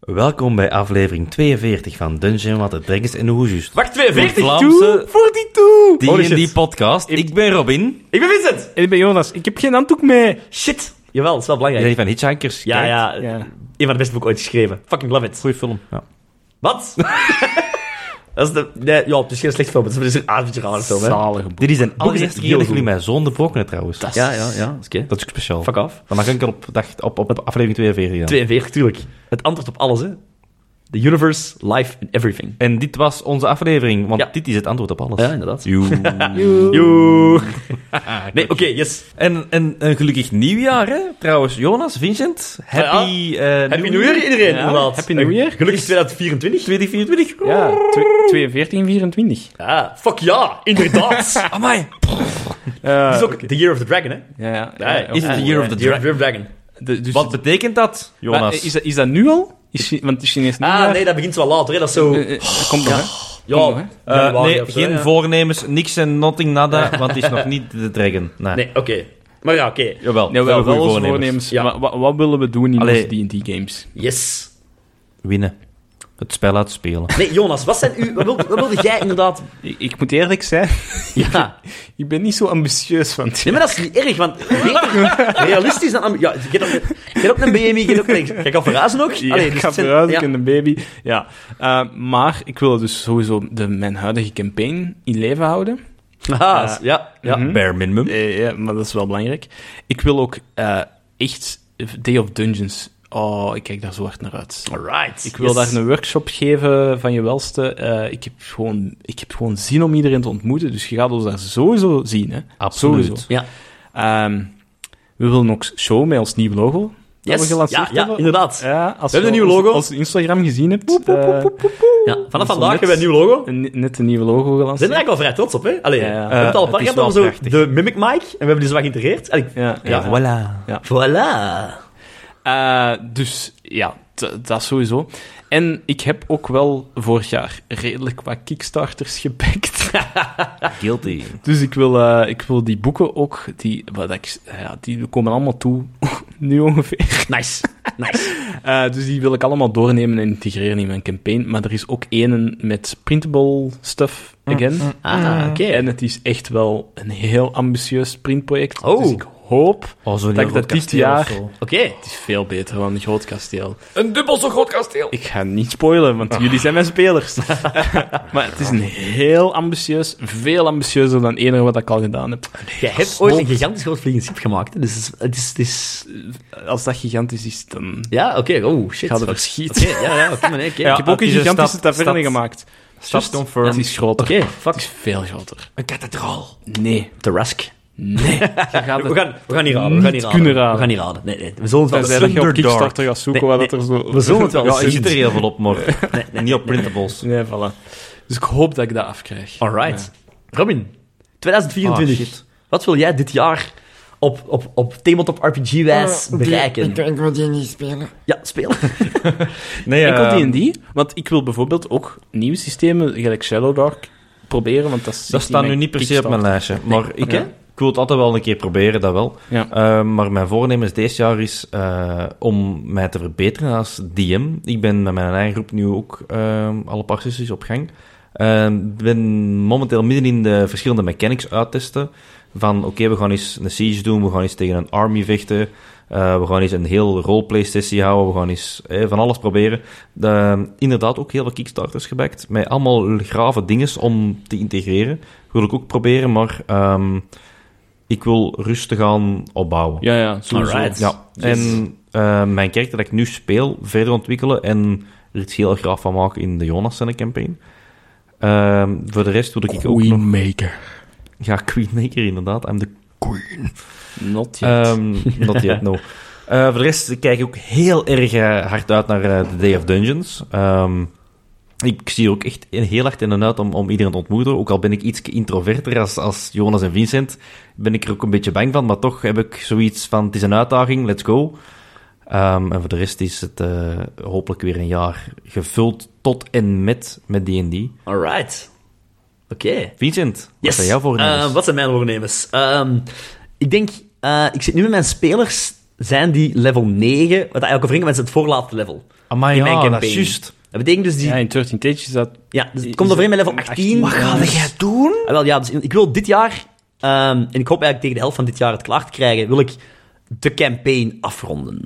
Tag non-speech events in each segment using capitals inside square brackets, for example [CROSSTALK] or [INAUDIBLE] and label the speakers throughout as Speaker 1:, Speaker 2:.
Speaker 1: Welkom bij aflevering 42 van Dungeon Wat het Dragons en de Hoesjes.
Speaker 2: Wacht, 42
Speaker 1: Vlaamse-
Speaker 2: toe? 42! toe.
Speaker 1: Die
Speaker 2: Holy
Speaker 1: in
Speaker 2: shit.
Speaker 1: die podcast. Ik ben Robin.
Speaker 2: Ik ben Vincent!
Speaker 3: En ik ben Jonas. Ik heb geen handdoek mee.
Speaker 2: Shit! Jawel, dat is wel
Speaker 1: Jij
Speaker 2: belangrijk.
Speaker 1: bent van Hitchhikers.
Speaker 2: ja,
Speaker 1: Kijk.
Speaker 2: ja,
Speaker 3: Ja.
Speaker 2: Een van de beste boeken ooit geschreven. Fucking love it.
Speaker 1: Goeie film. Ja.
Speaker 2: Wat? [LAUGHS] dat is de... Nee, ja, het is geen slecht film, het is een avondje rare film, hè.
Speaker 3: Zalige boek.
Speaker 1: Dit is een
Speaker 2: is echt
Speaker 1: allereerste keer
Speaker 2: heel
Speaker 1: dat jullie
Speaker 2: goed.
Speaker 1: mij zonder brokken trouwens. Dat
Speaker 2: Ja, ja, ja, dat is oké.
Speaker 1: is ook speciaal.
Speaker 2: Fuck off.
Speaker 1: Dan mag ik enkel op, dag, op, op aflevering 42 dan.
Speaker 2: 42, tuurlijk. Het antwoord op alles, hè. The universe, life and everything.
Speaker 1: En dit was onze aflevering, want
Speaker 2: Ja.
Speaker 1: dit is het antwoord op alles.
Speaker 2: Ja, inderdaad.
Speaker 1: Joe. Ah,
Speaker 2: Joe. nee, oké, yes.
Speaker 1: En, en een gelukkig nieuwjaar, hè? Trouwens, Jonas, Vincent, happy, eh,
Speaker 2: Happy New Year, iedereen, inderdaad. Eh,
Speaker 3: Happy New Year.
Speaker 2: Gelukkig 2024.
Speaker 1: 2024.
Speaker 3: Ja, tw- 42, 24.
Speaker 2: Ah, fuck ja, inderdaad.
Speaker 1: Amai.
Speaker 2: Het is ook The Year of the Dragon, hè.
Speaker 3: Eh, Ja, ja.
Speaker 2: Ja,
Speaker 3: ja,
Speaker 1: is
Speaker 3: ja.
Speaker 1: het de Year of the
Speaker 2: Year of the Dragon.
Speaker 3: De- dus
Speaker 1: Wat betekent dat,
Speaker 3: maar,
Speaker 1: Jonas?
Speaker 3: eh, is, dat, is dat nu al? Is, Chi- want het is Chinees nieuwjaar.
Speaker 2: Ah, nee, dat begint wel later, hè. Dat is zo...
Speaker 3: Eh, eh, dat komt nog, hè?
Speaker 2: Ja,
Speaker 3: Kom nog, hè.
Speaker 1: Eh,
Speaker 2: januari
Speaker 1: nee,
Speaker 2: of zo,
Speaker 1: geen
Speaker 2: ja.
Speaker 1: voornemens, niks en nothing nada, want het is nog niet de dragon. Nee.
Speaker 2: Nee, oké. Maar ja, oké.
Speaker 1: Jawel,
Speaker 3: Ja,
Speaker 1: wel
Speaker 3: wel, wel
Speaker 1: goede
Speaker 3: onze
Speaker 1: voornemens.
Speaker 3: voornemens.
Speaker 2: Ja.
Speaker 3: Maar wa- wat willen we doen in
Speaker 1: Allee.
Speaker 3: onze D&D-games?
Speaker 2: Yes.
Speaker 1: Winnen. Het spel laten spelen.
Speaker 2: Nee, Jonas, wat zijn u... Wat wilde, wat wilde jij
Speaker 3: [LAUGHS]
Speaker 2: inderdaad...
Speaker 3: Ik, ik moet eerlijk zijn, [LAUGHS]
Speaker 2: Ja.
Speaker 3: ik ben niet zo ambitieus van het.
Speaker 2: Nee, maar dat is niet erg, want... beter Realistisch dan... am- Ja, je hebt ook- je hebt ook een BMI, je hebt ook niks. Jij kan verrazen ook?
Speaker 3: [LAUGHS] Ja,
Speaker 2: Allee,
Speaker 3: ik
Speaker 2: dus
Speaker 3: ga
Speaker 2: het zijn-
Speaker 3: vooruit, ik
Speaker 2: ja.
Speaker 3: en een baby. Ja. Eh, maar ik wil dus sowieso de, mijn huidige campaign in leven houden.
Speaker 2: Haha, Ah, ja, ja.
Speaker 3: Mhm.
Speaker 1: Bare minimum.
Speaker 3: Eh, ja, maar dat is wel belangrijk. Ik wil ook eh, echt Day of Dungeons. Oh, ik kijk daar zo hard naar uit.
Speaker 2: Alright.
Speaker 3: Ik wil daar een workshop geven van je welste. Eh, ik, heb gewoon, ik heb gewoon zin om iedereen te ontmoeten, dus je gaat ons daar sowieso zien. Hè?
Speaker 1: Absoluut.
Speaker 3: Sowieso.
Speaker 2: Ja.
Speaker 3: Ehm, we willen ook show met ons nieuw logo. dat we Eh,
Speaker 2: Yes.
Speaker 3: gelanceerd
Speaker 2: Ja, ja,
Speaker 3: hebben.
Speaker 2: inderdaad.
Speaker 3: Ja, als
Speaker 2: We hebben
Speaker 3: je
Speaker 2: een nieuw
Speaker 3: ons-
Speaker 2: logo.
Speaker 3: Als je Instagram gezien hebt, eh,
Speaker 2: Ja, vanaf
Speaker 3: is wel
Speaker 2: vandaag
Speaker 3: net-
Speaker 2: hebben we een nieuw logo.
Speaker 3: een- net een nieuwe logo
Speaker 2: We zijn
Speaker 3: gelanceerd.
Speaker 2: er eigenlijk wel vrij trots op, hè? Allee,
Speaker 3: Ja, ja.
Speaker 2: we hebben het al een paar
Speaker 1: Eh,
Speaker 2: keer
Speaker 1: het
Speaker 2: gedaan,
Speaker 1: is
Speaker 2: zo
Speaker 1: wel prachtig.
Speaker 2: de Mimic Mic, en we hebben die zo wat geïntegreerd. Allee,
Speaker 3: Ja,
Speaker 1: Ja, voilà.
Speaker 3: ja.
Speaker 2: voilà.
Speaker 3: Eh, dus ja, t- dat sowieso. En ik heb ook wel vorig jaar redelijk wat kickstarters [LAUGHS] gebackt.
Speaker 1: Guilty.
Speaker 3: dus ik wil, eh, ik wil die boeken ook, die, wat ik, ja, die komen allemaal toe, [LAUGHS] nu ongeveer.
Speaker 2: Nice. Nice.
Speaker 3: [LAUGHS] Eh, dus die wil ik allemaal doornemen en integreren in mijn campaign. Maar er is ook één met printable stuff, again.
Speaker 2: Ah, oké.
Speaker 3: En het is echt wel een heel ambitieus printproject.
Speaker 2: Oh.
Speaker 3: Dus ik hoop...
Speaker 1: Oh, zo'n
Speaker 3: Dat
Speaker 1: heel
Speaker 3: ik dat
Speaker 1: groot
Speaker 3: dit
Speaker 1: kasteel
Speaker 3: jaar-
Speaker 1: of zo.
Speaker 2: Oké.
Speaker 3: Het is veel beter dan een groot kasteel.
Speaker 1: Een dubbel zo groot kasteel.
Speaker 3: Ik ga niet spoilen, want jullie zijn mijn spelers. [LAUGHS] maar het is een heel ambitieus, veel ambitieuzer dan enig wat ik al gedaan heb.
Speaker 2: Jij hebt ooit een gigantisch groot vliegend schip gemaakt. hè. Dus het is, het is, het is-
Speaker 3: Als dat gigantisch is, dan
Speaker 2: Ja, oké. Oh, shit.
Speaker 3: gaat er
Speaker 2: Oké,
Speaker 3: verschieten. dus
Speaker 2: ja, ja, oké, maar nee, oké.
Speaker 3: ik heb ook
Speaker 1: het
Speaker 3: een
Speaker 1: is een
Speaker 3: gigantische
Speaker 1: stad-
Speaker 3: taverne
Speaker 1: stad-
Speaker 3: gemaakt.
Speaker 1: Stad
Speaker 3: Just-
Speaker 1: confirmed.
Speaker 3: Het is groter.
Speaker 2: Oké,
Speaker 3: Het is veel groter.
Speaker 1: Een kathedraal.
Speaker 3: Nee,
Speaker 2: The Rusk. [LAUGHS]
Speaker 3: nee. Je gaat
Speaker 2: We
Speaker 3: het
Speaker 2: gaan, we gaan niet raden. We gaan niet
Speaker 3: Niet
Speaker 2: raden.
Speaker 3: kunnen raden.
Speaker 2: We gaan niet raden. Nee, nee. We zullen het
Speaker 3: Tenzij
Speaker 2: wel
Speaker 3: dat je op
Speaker 1: Underdark.
Speaker 3: Kickstarter gaat zoeken
Speaker 2: Nee,
Speaker 3: wat dat er zo...
Speaker 2: We zullen het wel
Speaker 1: Ja,
Speaker 3: Ja,
Speaker 1: je
Speaker 2: zien.
Speaker 1: ziet er heel veel op, maar niet op printables.
Speaker 3: Nee, voilà. Dus ik hoop dat ik dat afkrijg.
Speaker 2: Alright. Robin, 2024.
Speaker 1: Ah, shit.
Speaker 2: Wat wil jij dit jaar op, op, op tabletop RPG-wijs bereiken? Ik, wil die niet spelen. Ja, [LAUGHS] spelen.
Speaker 1: Nee,
Speaker 3: Ja.
Speaker 1: eh,
Speaker 2: ehm,
Speaker 3: Enkel D&D, want ik wil bijvoorbeeld ook nieuwe systemen, gelijk Shadow Dark, proberen, want dat, zit
Speaker 1: Dat
Speaker 3: in
Speaker 1: staat nu
Speaker 3: mijn
Speaker 1: niet per se op mijn
Speaker 3: Kickstarter.
Speaker 1: lijstje. Maar ik,
Speaker 3: Oké.
Speaker 1: ik wil het altijd wel een keer proberen, dat wel.
Speaker 3: Ja.
Speaker 1: Eh, maar mijn voornemen is deze jaar is eh, om mij te verbeteren als DM. Ik ben met mijn eigen groep nu ook eh, al een paar sessies op gang. Eh, Ik ben momenteel midden in de verschillende mechanics uittesten. Van oké, we gaan eens een siege doen, we gaan eens tegen een army vechten. eh, we gaan eens een heel roleplay sessie houden, we gaan eens eh, van alles proberen. De- inderdaad ook heel veel kickstarters gebackt, met allemaal grave dinges om te integreren. Wil ik ook proberen, maar ehm, ik wil rustig aan opbouwen.
Speaker 3: Ja, ja, sowieso.
Speaker 2: Alright.
Speaker 1: Ja, en eh, mijn karakter dat ik nu speel, verder ontwikkelen en er iets heel graaf van maken in de Jonas en campaign. Ehm, voor de rest wil ik ook nog...
Speaker 3: Maker.
Speaker 1: Ja, Queenmaker inderdaad, I'm the
Speaker 3: Not yet.
Speaker 1: Ehm not yet, [LAUGHS] no. Eh, voor de rest kijk ik ook heel erg eh, hard uit naar eh, The Day of Dungeons. Ehm, ik zie er ook echt heel hard in en uit om, om iedereen te ontmoeten. Ook al ben ik iets introverter als, als Jonas en Vincent, ben ik er ook een beetje bang van. Maar toch heb ik zoiets van, het is een uitdaging, let's go. Ehm, en voor de rest is het eh, hopelijk weer een jaar gevuld tot en met met D&D.
Speaker 2: Alright. Oké.
Speaker 1: Vincent, wat
Speaker 2: Yes.
Speaker 1: zijn jouw voornemens?
Speaker 2: Eh, wat zijn mijn voornemens? Ehm, ik denk, eh, ik zit nu met mijn spelers, zijn die level 9, wat eigenlijk overeenkomt met het voorlaatste level.
Speaker 1: Amai,
Speaker 2: in mijn
Speaker 1: ja, dat
Speaker 2: campaign.
Speaker 1: is juist.
Speaker 2: Dat betekent dus die...
Speaker 3: Ja,
Speaker 2: Ja,
Speaker 3: in 13 Tage is
Speaker 2: [LAUGHS]
Speaker 3: dat... [LAUGHS]
Speaker 2: dus het
Speaker 3: Is
Speaker 2: komt overeen met level
Speaker 3: 18.
Speaker 2: 18.
Speaker 3: Wat ga
Speaker 2: dus-
Speaker 1: jij doen?
Speaker 2: Ah, wel, ja, dus ik wil dit jaar, ehm, en ik hoop eigenlijk tegen de helft van dit jaar het klaar te krijgen, wil ik de campaign afronden.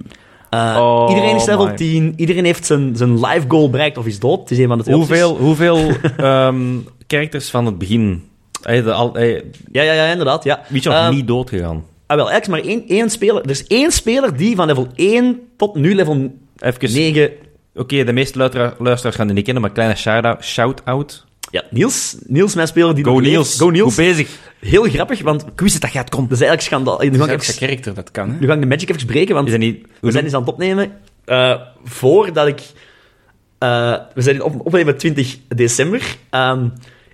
Speaker 2: Eh,
Speaker 1: Oh
Speaker 2: iedereen is level
Speaker 1: my.
Speaker 2: 10, iedereen heeft zijn, zijn life goal bereikt of is dood. Het is een van de twee opties.
Speaker 1: Hoeveel, [LAUGHS] hoeveel ehm characters van het begin? Hey, de, al, hey,
Speaker 2: Ja, ja, ja, inderdaad. Ja.
Speaker 1: wie is nog
Speaker 2: Ehm,
Speaker 1: niet doodgegaan?
Speaker 2: Ah, wel, eigenlijk is maar één, één speler. Er is één speler die van level 1 tot nu level
Speaker 1: Even,
Speaker 2: 9...
Speaker 1: oké, de meeste luistera- luisteraars gaan die niet kennen, maar kleine shout-out- shout-out.
Speaker 2: Ja, Niels. Niels, mijn speler. Die
Speaker 1: Go
Speaker 2: nog leeft.
Speaker 1: Niels,
Speaker 2: Go Niels.
Speaker 1: goed bezig.
Speaker 2: Heel grappig, want ik wist dat dat gaat komen. Dat is eigenlijk schandaal. Nu ga ik,
Speaker 3: Dat
Speaker 2: even-
Speaker 3: karakter, dat kan, hè.
Speaker 2: nu ga ik de magic even breken, want
Speaker 1: Is dat niet...
Speaker 2: we zijn eens aan het opnemen. eh, voordat ik... eh, we zijn op, opnemen 20 december. Ehm,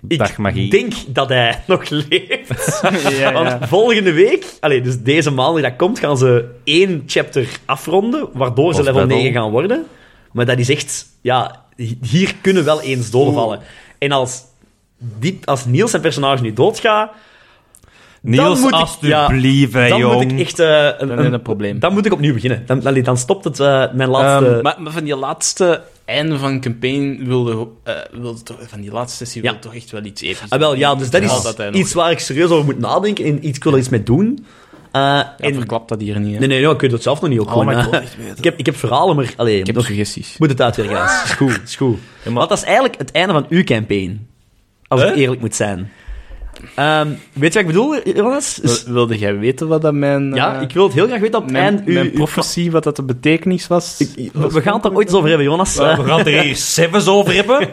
Speaker 2: ik
Speaker 1: Dag, magie.
Speaker 2: denk dat hij [LAUGHS] nog leeft.
Speaker 3: ja, ja.
Speaker 2: Want volgende week, allee, dus deze maandag dat komt, gaan ze één chapter afronden, waardoor ze
Speaker 1: Boss
Speaker 2: level
Speaker 1: battle.
Speaker 2: 9 gaan worden. Maar dat is echt, ja, hi- hier kunnen wel eens doorvallen. En als, die, als Niels zijn personage nu doodgaat,
Speaker 1: Niels,
Speaker 2: moet ik-
Speaker 1: alsjeblieft, hè,
Speaker 2: dan
Speaker 1: jong.
Speaker 2: moet ik echt... eh, een,
Speaker 3: Dan is het een probleem.
Speaker 2: Dan moet ik opnieuw beginnen. Dan, allee, dan stopt het eh, mijn laatste...
Speaker 1: Ehm,
Speaker 3: Maar, maar van die laatste einde van campaign wilde, eh, wilde toch, van die laatste sessie
Speaker 2: Ja.
Speaker 3: wilde toch echt wel iets episch.
Speaker 2: Ah, wel, ja, dus dat
Speaker 3: Ja,
Speaker 2: is
Speaker 3: dat hij nog-
Speaker 2: iets waar ik serieus over moet nadenken en iets, ik wil er iets mee doen. Eh,
Speaker 3: Ja,
Speaker 2: en, nee,
Speaker 3: verklap dat hier niet. hè.
Speaker 2: nee, nee, ik weet het zelf nog niet. Ook gewoon,
Speaker 3: Oh
Speaker 2: eh. [LAUGHS] ik, heb, ik heb verhalen, maar... Allee,
Speaker 3: Ik heb
Speaker 2: nog-
Speaker 3: suggesties.
Speaker 2: Ik moet het uitwerken, Hans.
Speaker 3: Ah.
Speaker 2: Is goed, is goed.
Speaker 1: maar-
Speaker 2: Want dat is eigenlijk het einde van uw campaign. Als ik
Speaker 3: Hè?
Speaker 2: eerlijk moet zijn. Ehm, weet je wat ik bedoel, Jonas? Is-
Speaker 3: Wil- Wilde jij weten wat dat mijn...
Speaker 2: Dus- ja,
Speaker 3: eh,
Speaker 2: ik wil het heel graag weten op het
Speaker 3: mijn,
Speaker 2: einde. uw-
Speaker 3: mijn
Speaker 2: uw-
Speaker 3: prophecy, wat dat de betekenis was.
Speaker 2: Ik- ik- we we gaan het er ooit eens over hebben, Jonas. Eh,
Speaker 1: gaan er hier sevens over hebben.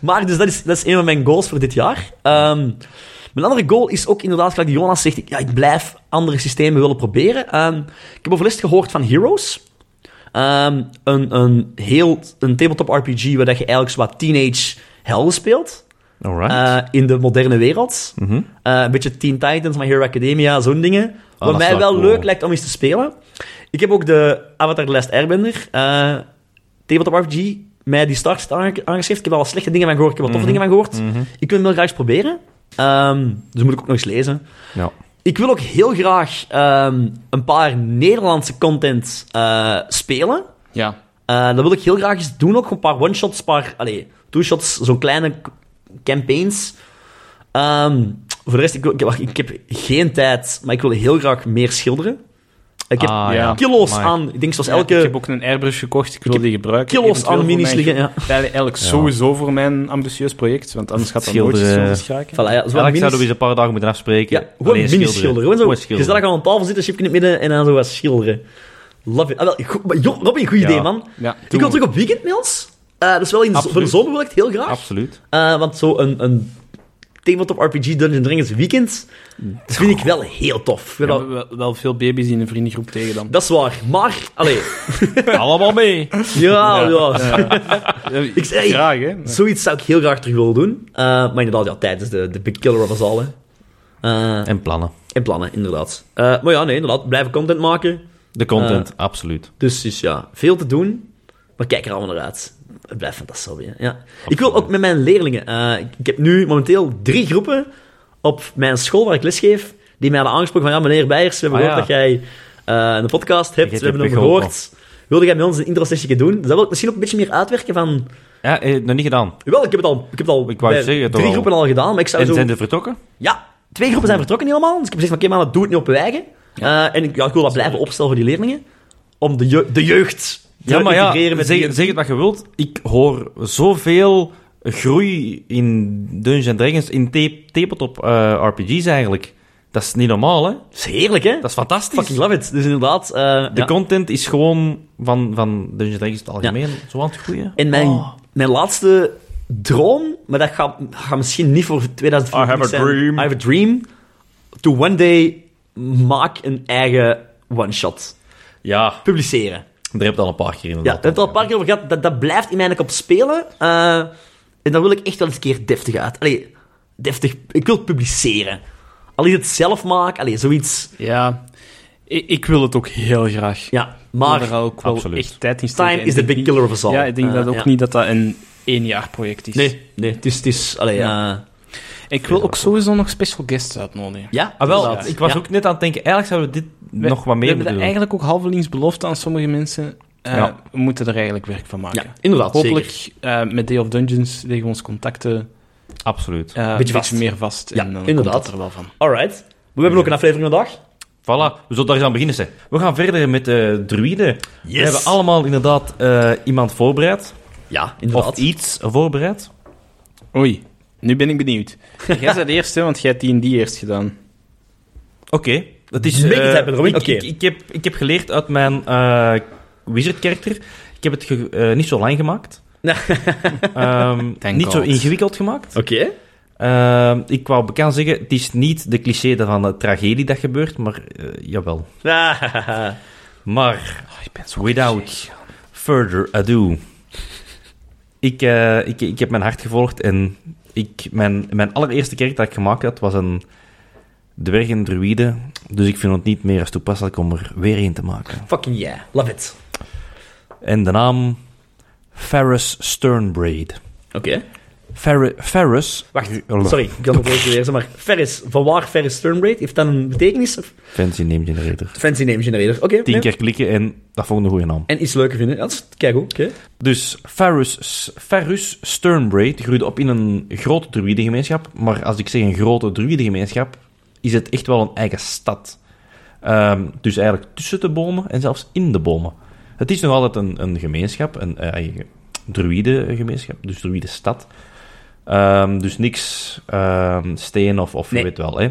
Speaker 2: maar dus dat, is, dat is een van mijn goals voor dit jaar. Ehm, mijn andere goal is ook inderdaad, gelijk die Jonas zegt, ik- ja, ik blijf andere systemen willen proberen. Ehm, ik heb overlast gehoord van Heroes. Ehm, een, een heel een tabletop RPG waar dat je eigenlijk zo wat teenage hel speelt.
Speaker 1: Alright.
Speaker 2: Eh, in de moderne wereld.
Speaker 1: Mhm.
Speaker 2: Eh, een beetje Teen Titans, My Hero Academia, zo'n dingen.
Speaker 1: Ah, dat
Speaker 2: Wat
Speaker 1: is wel
Speaker 2: mij wel
Speaker 1: cool.
Speaker 2: leuk lijkt om eens te spelen. Ik heb ook de Avatar The Last Airbender, eh tabletop RPG, mij die start aange- aangeschreven. Ik heb al wat slechte dingen van gehoord, ik heb wat
Speaker 1: Mhm.
Speaker 2: toffe dingen van gehoord. Ik wil hem wel graag eens proberen. Ehm, dus moet ik ook nog eens lezen.
Speaker 1: ja.
Speaker 2: Ik wil ook heel graag ehm, een paar Nederlandse content eh, spelen.
Speaker 3: Ja.
Speaker 2: Eh, dat wil ik heel graag eens doen. Ook een paar one-shots, een paar allee, two-shots, zo'n kleine k- campaigns. Ehm, voor de rest, ik, wil- ik, wacht, ik heb geen tijd, maar ik wil heel graag meer schilderen. Ik heb
Speaker 1: Ah,
Speaker 3: ja.
Speaker 2: kilo's
Speaker 1: Amai.
Speaker 2: aan, ik denk zoals
Speaker 3: Ja,
Speaker 2: Dus elke...
Speaker 3: Ik heb ook een airbrush gekocht, ik wil die gebruiken.
Speaker 2: kilo's aan
Speaker 3: Eventueel
Speaker 2: minis
Speaker 3: voor
Speaker 2: liggen.
Speaker 3: mijn-
Speaker 2: Ja.
Speaker 3: Eigenlijk sowieso voor mijn ambitieus project, want anders gaat dat nooit
Speaker 1: Schilderen.
Speaker 3: zo schaken.
Speaker 2: Voilà, ja, zo'n
Speaker 1: Eigenlijk zouden we
Speaker 2: minis...
Speaker 1: eens een paar dagen moeten afspreken.
Speaker 2: Ja, gewoon
Speaker 1: Alleen
Speaker 2: minis schilderen. Gewoon zo
Speaker 1: schilderen.
Speaker 2: gezellig aan een tafel zitten, chipje in het midden en dan zo wat schilderen. Love it. Ah, wel, goed- maar joh, Robin, goed
Speaker 1: Ja.
Speaker 2: idee, man.
Speaker 3: Ja.
Speaker 2: Ik wil terug op weekendmails. Eh dat is wel in de, zo- voor de
Speaker 1: Absoluut.
Speaker 2: zomer wil ik het heel graag.
Speaker 1: Absoluut.
Speaker 2: [LAUGHS] Eh, want zo een, een tabletop RPG Dungeon Dragons weekend dat vind ik wel heel tof.
Speaker 3: We
Speaker 2: Mm. Ja,
Speaker 3: hebben wel, wel veel baby's in een vriendengroep tegen dan.
Speaker 2: Dat is waar, maar... [LAUGHS] Allee,
Speaker 1: Allemaal mee.
Speaker 2: ja, ja. Ik zeg-
Speaker 3: Graag, hè?
Speaker 2: Zoiets zou ik heel graag terug willen doen. Eh, maar inderdaad, ja, tijd is de, de big killer of us all. hè. Eh,
Speaker 1: En plannen.
Speaker 2: en plannen, inderdaad. Eh, maar ja, nee, inderdaad, blijven content maken.
Speaker 1: De content, absoluut.
Speaker 2: Dus, dus ja, veel te doen. Maar kijk er allemaal naar uit. Het blijft fantastisch. hè. Ja. Ik wil ook met mijn leerlingen. eh, ik- ik heb nu momenteel drie groepen op mijn school waar ik lesgeef. Die mij hadden aangesproken van ja, meneer Beijers, we hebben
Speaker 1: Ah,
Speaker 2: gehoord dat jij eh, een podcast hebt.
Speaker 1: hebt
Speaker 2: We hebben
Speaker 1: je
Speaker 2: hem
Speaker 1: geholpen.
Speaker 2: gehoord. Wilde jij met ons een intro-sessie doen? Dus dat wil ik misschien ook een beetje meer uitwerken van...
Speaker 1: Ja, eh, nog niet gedaan.
Speaker 2: Wel, ik heb het al, ik heb het al
Speaker 1: Ik wou
Speaker 2: bij
Speaker 1: zeggen, toch
Speaker 2: drie
Speaker 1: al.
Speaker 2: groepen al gedaan, maar ik zou
Speaker 1: En
Speaker 2: zo...
Speaker 1: zijn ze vertrokken?
Speaker 2: Ja, twee groepen zijn vertrokken helemaal. Dus ik heb gezegd van, oké man, dat doe het niet op je eigen. Eh, en ik, ja, ik wil dat blijven opstellen voor die leerlingen. Om de, je- de jeugd te
Speaker 1: Ja, maar ja,
Speaker 2: integreren met die-
Speaker 1: zeg, zeg het wat je wilt. Ik hoor zoveel groei in Dungeons Dragons, in ta- tabletop eh, RPG's eigenlijk. Dat is niet normaal, hè?
Speaker 2: Dat is heerlijk, hè?
Speaker 1: Dat is fantastisch.
Speaker 2: Fucking love it. Dus inderdaad... eh,
Speaker 1: de
Speaker 2: ja.
Speaker 1: content is gewoon van, van Dungeons Dragons in het algemeen zo aan het groeien.
Speaker 2: En mijn,
Speaker 1: Oh.
Speaker 2: mijn laatste droom, maar dat gaat gaat misschien niet voor 2014
Speaker 1: I have a
Speaker 2: zijn.
Speaker 1: dream.
Speaker 2: I have a dream. To one day maak een eigen one-shot.
Speaker 1: Ja,
Speaker 2: Publiceren.
Speaker 1: daar heb je al een paar keer in.
Speaker 2: Ja, we hebben het al een paar keer over gehad. Dat, dat blijft in mijn kop spelen. eh, en daar wil ik echt wel eens een keer deftig uit. Allee, deftig. Ik wil het publiceren. Al is het zelf maken, allee, zoiets.
Speaker 3: Ja, ik, ik wil het ook heel graag.
Speaker 2: Ja,
Speaker 3: Maar
Speaker 2: maar
Speaker 3: er ook wel
Speaker 1: Absoluut.
Speaker 3: echt tijd in steken.
Speaker 2: time
Speaker 3: En
Speaker 2: is the
Speaker 3: ik
Speaker 2: big
Speaker 3: denk-
Speaker 2: killer of us all.
Speaker 3: Ja, ik denk
Speaker 2: Eh,
Speaker 3: dat ook
Speaker 2: ja.
Speaker 3: niet dat dat een één jaar project is.
Speaker 2: Nee, nee, het is... Het is allee,
Speaker 3: Ja.
Speaker 2: eh,
Speaker 3: Ik wil ook sowieso nog special guests uitnodigen.
Speaker 2: Ja,
Speaker 1: Ah, wel,
Speaker 2: inderdaad.
Speaker 1: ik was
Speaker 2: Ja.
Speaker 1: ook net aan het denken, eigenlijk zouden we dit
Speaker 3: We-
Speaker 1: nog wat
Speaker 3: We
Speaker 1: meer
Speaker 3: hebben dat
Speaker 1: moeten doen.
Speaker 3: eigenlijk ook halverlings beloft aan sommige mensen. Eh,
Speaker 1: Ja.
Speaker 3: We moeten er eigenlijk werk van maken.
Speaker 2: Ja, inderdaad,
Speaker 3: Hopelijk
Speaker 2: zeker.
Speaker 3: eh, met Day of Dungeons leggen we ons contacten
Speaker 1: Absoluut.
Speaker 3: eh, een
Speaker 2: Beetje
Speaker 3: beetje
Speaker 2: vast.
Speaker 3: meer vast.
Speaker 2: Ja,
Speaker 3: en dan
Speaker 2: inderdaad.
Speaker 3: komt dat er wel van.
Speaker 2: Alright. Maar we hebben ook een aflevering vandaag.
Speaker 1: Voilà, we zullen daar eens aan beginnen. Zeg. We gaan verder met de druïden.
Speaker 2: Yes.
Speaker 1: We hebben allemaal inderdaad eh, iemand voorbereid.
Speaker 2: Ja, inderdaad.
Speaker 1: Of iets voorbereid.
Speaker 3: Oei, nu ben ik [LAUGHS] benieuwd. Jij bent de eerste, want jij hebt die en die eerst gedaan.
Speaker 1: Oké. Dat is...
Speaker 2: Make it
Speaker 1: eh,
Speaker 2: happen, Robin.
Speaker 1: Ik,
Speaker 2: Oké.
Speaker 1: ik, ik heb, ik heb geleerd uit mijn eh wizard-character. Ik heb het ge- eh, niet zo lang gemaakt. [LAUGHS] Ehm,
Speaker 3: [LAUGHS] Thank
Speaker 1: niet zo
Speaker 3: God.
Speaker 1: ingewikkeld gemaakt.
Speaker 2: Oké. [LAUGHS]
Speaker 1: Ehm, ik wou bekend zeggen, het is niet de cliché van de tragedie dat gebeurt, maar eh, jawel.
Speaker 2: Ah,
Speaker 1: Maar,
Speaker 3: Oh, ik ben zo
Speaker 1: without further ado. Ik, eh, ik, ik heb mijn hart gevolgd en ik, mijn, mijn allereerste kerk dat ik gemaakt had, was een dwerg en druïde. Dus ik vind het niet meer als toepasselijk om er weer een te maken.
Speaker 2: fucking yeah. Love it.
Speaker 1: En de naam Ferris Sternbraid.
Speaker 2: Oké.
Speaker 1: Ferri- Ferris...
Speaker 2: Wacht, sorry. Ik wil nog even lezen, maar Ferris, van waar Ferris Sternbraid? Heeft dat een betekenis? Of-
Speaker 1: Fancy name generator.
Speaker 2: Fancy name generator. Oké.
Speaker 1: Tien
Speaker 2: nee.
Speaker 1: keer klikken en dat vond ik een goede naam.
Speaker 2: En iets leuker vinden. Ja, dat is kijk ook. Oké.
Speaker 1: Dus Ferrus, Ferrus Sternbraid groeide op in een grote druïdengemeenschap. Maar als ik zeg een grote druïdengemeenschap, is het echt wel een eigen stad. Ehm, dus eigenlijk tussen de bomen en zelfs in de bomen. Het is nog altijd een, een gemeenschap, een eh, eigen druïdengemeenschap, dus druïdenstad. Ehm, dus niks ehm, steen of, of
Speaker 2: Nee.
Speaker 1: je weet wel. Hè.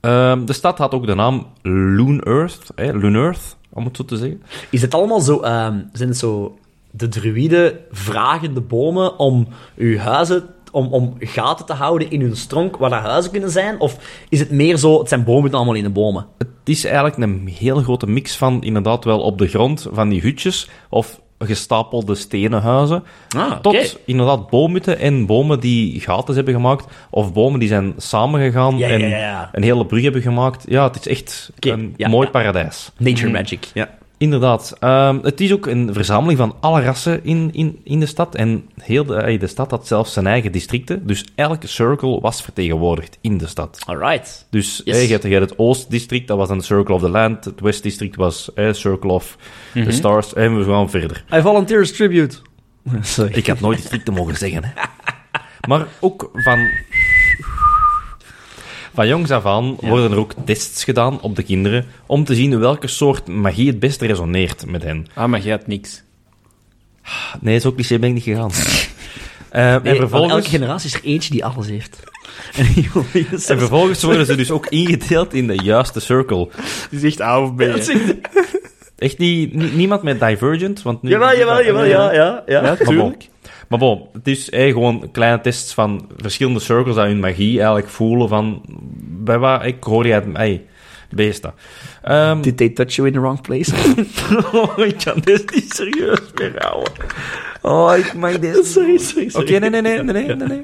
Speaker 1: Ehm, de stad had ook de naam Loon Earth, hè, Loon Earth, om het zo te zeggen.
Speaker 2: Is het allemaal zo... ehm, zijn het zo... De druïden vragen de bomen om uw huizen... Om, om gaten te houden in hun stronk waar dat huizen kunnen zijn? Of is het meer zo... Het zijn bomen het allemaal in de bomen.
Speaker 1: Het is eigenlijk een heel grote mix van inderdaad wel op de grond van die hutjes of gestapelde stenen huizen.
Speaker 2: Ah,
Speaker 1: Tot inderdaad boomhutten en bomen die gaten hebben gemaakt of bomen die zijn samengegaan
Speaker 2: Ja, ja,
Speaker 1: en
Speaker 2: ja, ja.
Speaker 1: een hele brug hebben gemaakt. Ja, het is echt
Speaker 2: Oké,
Speaker 1: een
Speaker 2: ja,
Speaker 1: mooi
Speaker 2: ja.
Speaker 1: paradijs.
Speaker 2: Nature magic.
Speaker 1: Ja. Inderdaad. Ehm, het is ook een verzameling van alle rassen in, in, in de stad. En heel de, eh, de stad had zelfs zijn eigen districten. Dus elke circle was vertegenwoordigd in de stad.
Speaker 2: Alright.
Speaker 1: Dus
Speaker 2: Yes.
Speaker 1: hè, je, hebt, je hebt het Oost-district, dat was een Circle of the Land. Het West-district was eh, Circle of
Speaker 2: Mhm.
Speaker 1: the Stars. En we gaan verder.
Speaker 2: I volunteers tribute. [LAUGHS] Sorry.
Speaker 1: Ik had nooit districten mogen zeggen.
Speaker 2: [LAUGHS]
Speaker 1: Hè. Maar ook van... Van jongs af aan worden er ook tests gedaan op de kinderen om te zien welke soort magie het best resoneert met hen.
Speaker 3: Ah, maar jij hebt niks.
Speaker 1: Nee, zo cliché ben ik niet
Speaker 2: [LAUGHS]
Speaker 1: gegaan. Eh, en vervolgens...
Speaker 2: Elke generatie is er eentje die alles heeft. [LAUGHS] En die wil je zelfs-
Speaker 1: En vervolgens worden ze dus ook ingedeeld in de juiste circle.
Speaker 3: Het is echt A of B.
Speaker 2: Dat is-
Speaker 1: Echt niet, niet- niemand met Divergent, want nu...
Speaker 2: Jawel, jawel, jawel, ja, ja, ja.
Speaker 1: maar bon. Maar bon, het is eh, gewoon kleine tests van verschillende circles dat hun magie eigenlijk voelen van... Bij waar ik hoor jij het... Hey, beest dat. Ehm,
Speaker 2: Did they touch you in the wrong [LAUGHS] place?
Speaker 1: oh, ik kan dit niet serieus meer houden. Oh, ik mag dit...
Speaker 2: sorry, sorry,
Speaker 1: Oké,
Speaker 2: sorry.
Speaker 1: nee, nee, nee, nee, nee, nee, nee.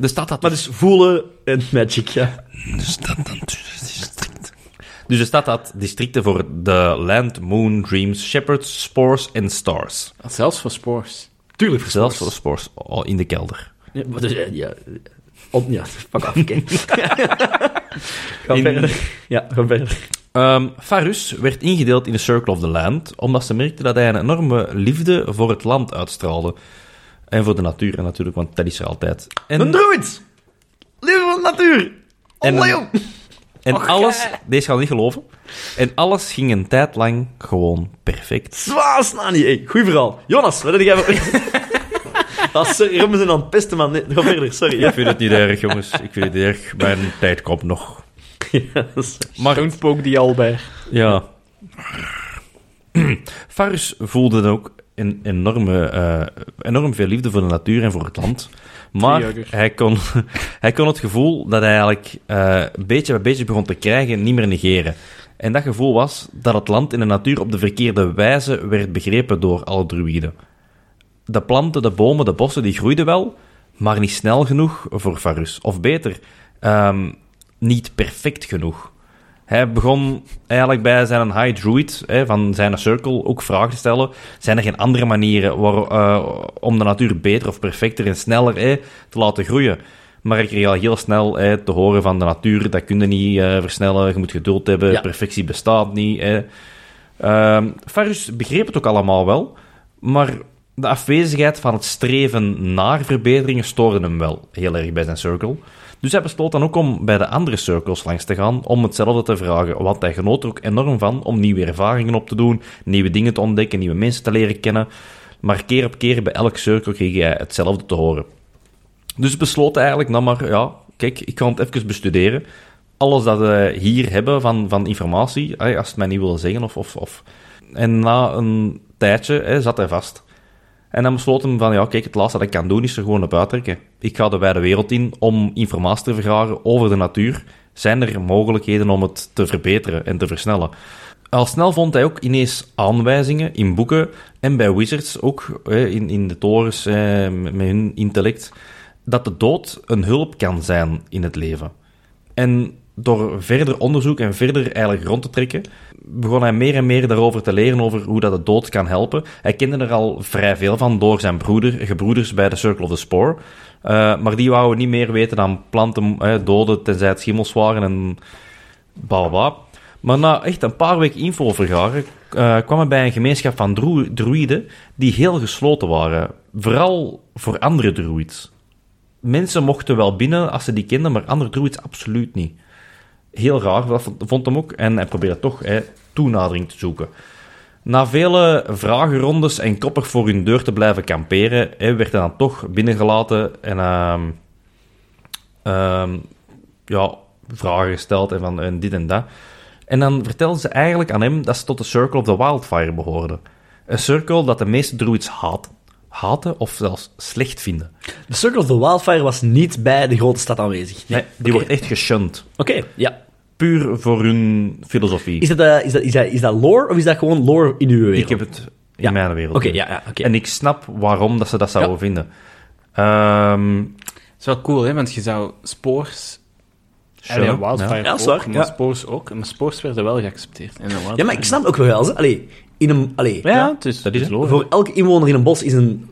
Speaker 1: De stad had
Speaker 2: Maar dus voelen en magic, ja.
Speaker 1: Dus de stad had districten voor de Land, Moon, Dreams, Shepherds, Spores en Stars.
Speaker 3: Ah, Zelfs voor spores.
Speaker 2: Tuurlijk,
Speaker 1: Zelfs voor Spores oh, in de kelder.
Speaker 2: Ja, maar dus, eh, ja, eh, op, ja, pak af, oké. [LAUGHS] Ga
Speaker 1: In-
Speaker 2: verder. Ja, ga verder.
Speaker 1: Ehm Farus werd ingedeeld in de Circle of the Land, omdat ze merkte dat hij een enorme liefde voor het land uitstraalde. En voor de natuur natuurlijk, want dat is er altijd. En,
Speaker 2: Een druid! Leven van de natuur!
Speaker 1: En-
Speaker 2: Olé, joh.
Speaker 1: en
Speaker 2: Och,
Speaker 1: alles,
Speaker 2: ja.
Speaker 1: deze gaan niet geloven, en alles ging een tijd lang gewoon perfect.
Speaker 2: Zwaas, Nani. Hey, goeie verhaal. Jonas, wat heb jij voor... [LAUGHS] Ah, sorry, Robin zijn aan het pesten, man. Nee, ga verder, sorry.
Speaker 1: Ik vind het niet erg, jongens. Ik vind het niet erg. Mijn tijd komt nog.
Speaker 2: [LAUGHS] Ja, dat is-
Speaker 1: Maar
Speaker 3: Don't poke die al bij.
Speaker 1: Ja. Farus voelde dan ook een enorme, eh, enorm veel liefde voor de natuur en voor het land. Maar
Speaker 3: Driehoeker.
Speaker 1: hij kon, [LAUGHS] hij kon het gevoel dat hij eigenlijk eh, beetje bij beetje begon te krijgen niet meer negeren. En dat gevoel was dat het land en de natuur op de verkeerde wijze werd begrepen door alle druïden. De planten, de bomen, de bossen, die groeiden wel, maar niet snel genoeg voor Varus. Of beter, ehm, niet perfect genoeg. Hij begon eigenlijk bij zijn high druid hè, van zijn circle ook vragen te stellen. Zijn er geen andere manieren waar, eh, om de natuur beter of perfecter en sneller hè, te laten groeien? Maar ik kreeg al heel snel hè, te horen van de natuur, dat kun je niet eh, versnellen, je moet geduld hebben,
Speaker 2: Ja.
Speaker 1: perfectie bestaat niet. Hè. Ehm, Farus begreep het ook allemaal wel, maar de afwezigheid van het streven naar verbeteringen stoorde hem wel heel erg bij zijn circle. Dus hij besloot dan ook om bij de andere circles langs te gaan om hetzelfde te vragen. Want hij genoot er ook enorm van om nieuwe ervaringen op te doen, nieuwe dingen te ontdekken, nieuwe mensen te leren kennen. Maar keer op keer bij elk circle kreeg hij hetzelfde te horen. Dus besloot hij eigenlijk, nou maar, ja, kijk, ik ga het even bestuderen. Alles dat we hier hebben van, van informatie, hey, als het mij niet willen zeggen of, of, of. En na een tijdje hè, zat hij vast. En dan besloot hem van, ja, kijk, het laatste dat ik kan doen is er gewoon op uittrekken. Ik ga de wijde wereld in om informatie te vergaren over de natuur. Zijn er mogelijkheden om het te verbeteren en te versnellen? Al snel vond hij ook ineens aanwijzingen in boeken en bij wizards ook, hè, in, in de torens, eh, met met hun intellect, dat de dood een hulp kan zijn in het leven. En door verder onderzoek en verder eigenlijk rond te trekken, begon hij meer en meer daarover te leren, over hoe dat de dood kan helpen. Hij kende er al vrij veel van door zijn broeder, gebroeders bij de Circle of the Spore. Eh, maar die wouden niet meer weten dan planten eh, doden, tenzij het schimmels waren en bla bla bla. Maar na echt een paar weken info vergaren, eh, kwam hij bij een gemeenschap van dru- druïden die heel gesloten waren. Vooral voor andere druids. Mensen mochten wel binnen als ze die kenden, maar andere druids absoluut niet heel raar, dat vond- vond hem ook. En hij probeerde toch hè, toenadering te zoeken. Na vele vragenrondes en koppig voor hun deur te blijven kamperen, hè, werd hij dan toch binnengelaten en ehm, ehm, ja, vragen gesteld en, van, en dit en dat. En dan vertelden ze eigenlijk aan hem dat ze tot de Circle of the Wildfire behoorden. Een circle dat de meeste druids haat, haten of zelfs slecht vinden.
Speaker 2: De Circle of the Wildfire was niet bij de grote stad aanwezig.
Speaker 1: Nee, die
Speaker 2: oké.
Speaker 1: wordt echt geshunt.
Speaker 2: Oké, ja.
Speaker 1: Puur voor hun filosofie.
Speaker 2: Is dat, eh, is, dat, is, dat, is dat lore of is dat gewoon lore in uw wereld?
Speaker 1: Ik heb het in
Speaker 2: Ja.
Speaker 1: mijn wereld.
Speaker 2: Oké, ja, ja, oké.
Speaker 1: En ik snap waarom dat ze dat zouden
Speaker 2: Ja.
Speaker 1: vinden. Ehm,
Speaker 3: Dat is wel cool, hè? Want je zou spoors...
Speaker 1: Sure.
Speaker 3: Allee, wildfire
Speaker 2: Ja, dat is
Speaker 3: ook,
Speaker 2: waar,
Speaker 3: maar
Speaker 2: ja.
Speaker 3: spoors ook. Maar spoors werden wel geaccepteerd. En de
Speaker 2: Ja, maar ik snap ook wel. Ze. Allee, in een, allee,
Speaker 3: Ja, ja, het is,
Speaker 1: Dat is
Speaker 3: het
Speaker 1: logisch.
Speaker 2: Voor elke inwoner in een bos is een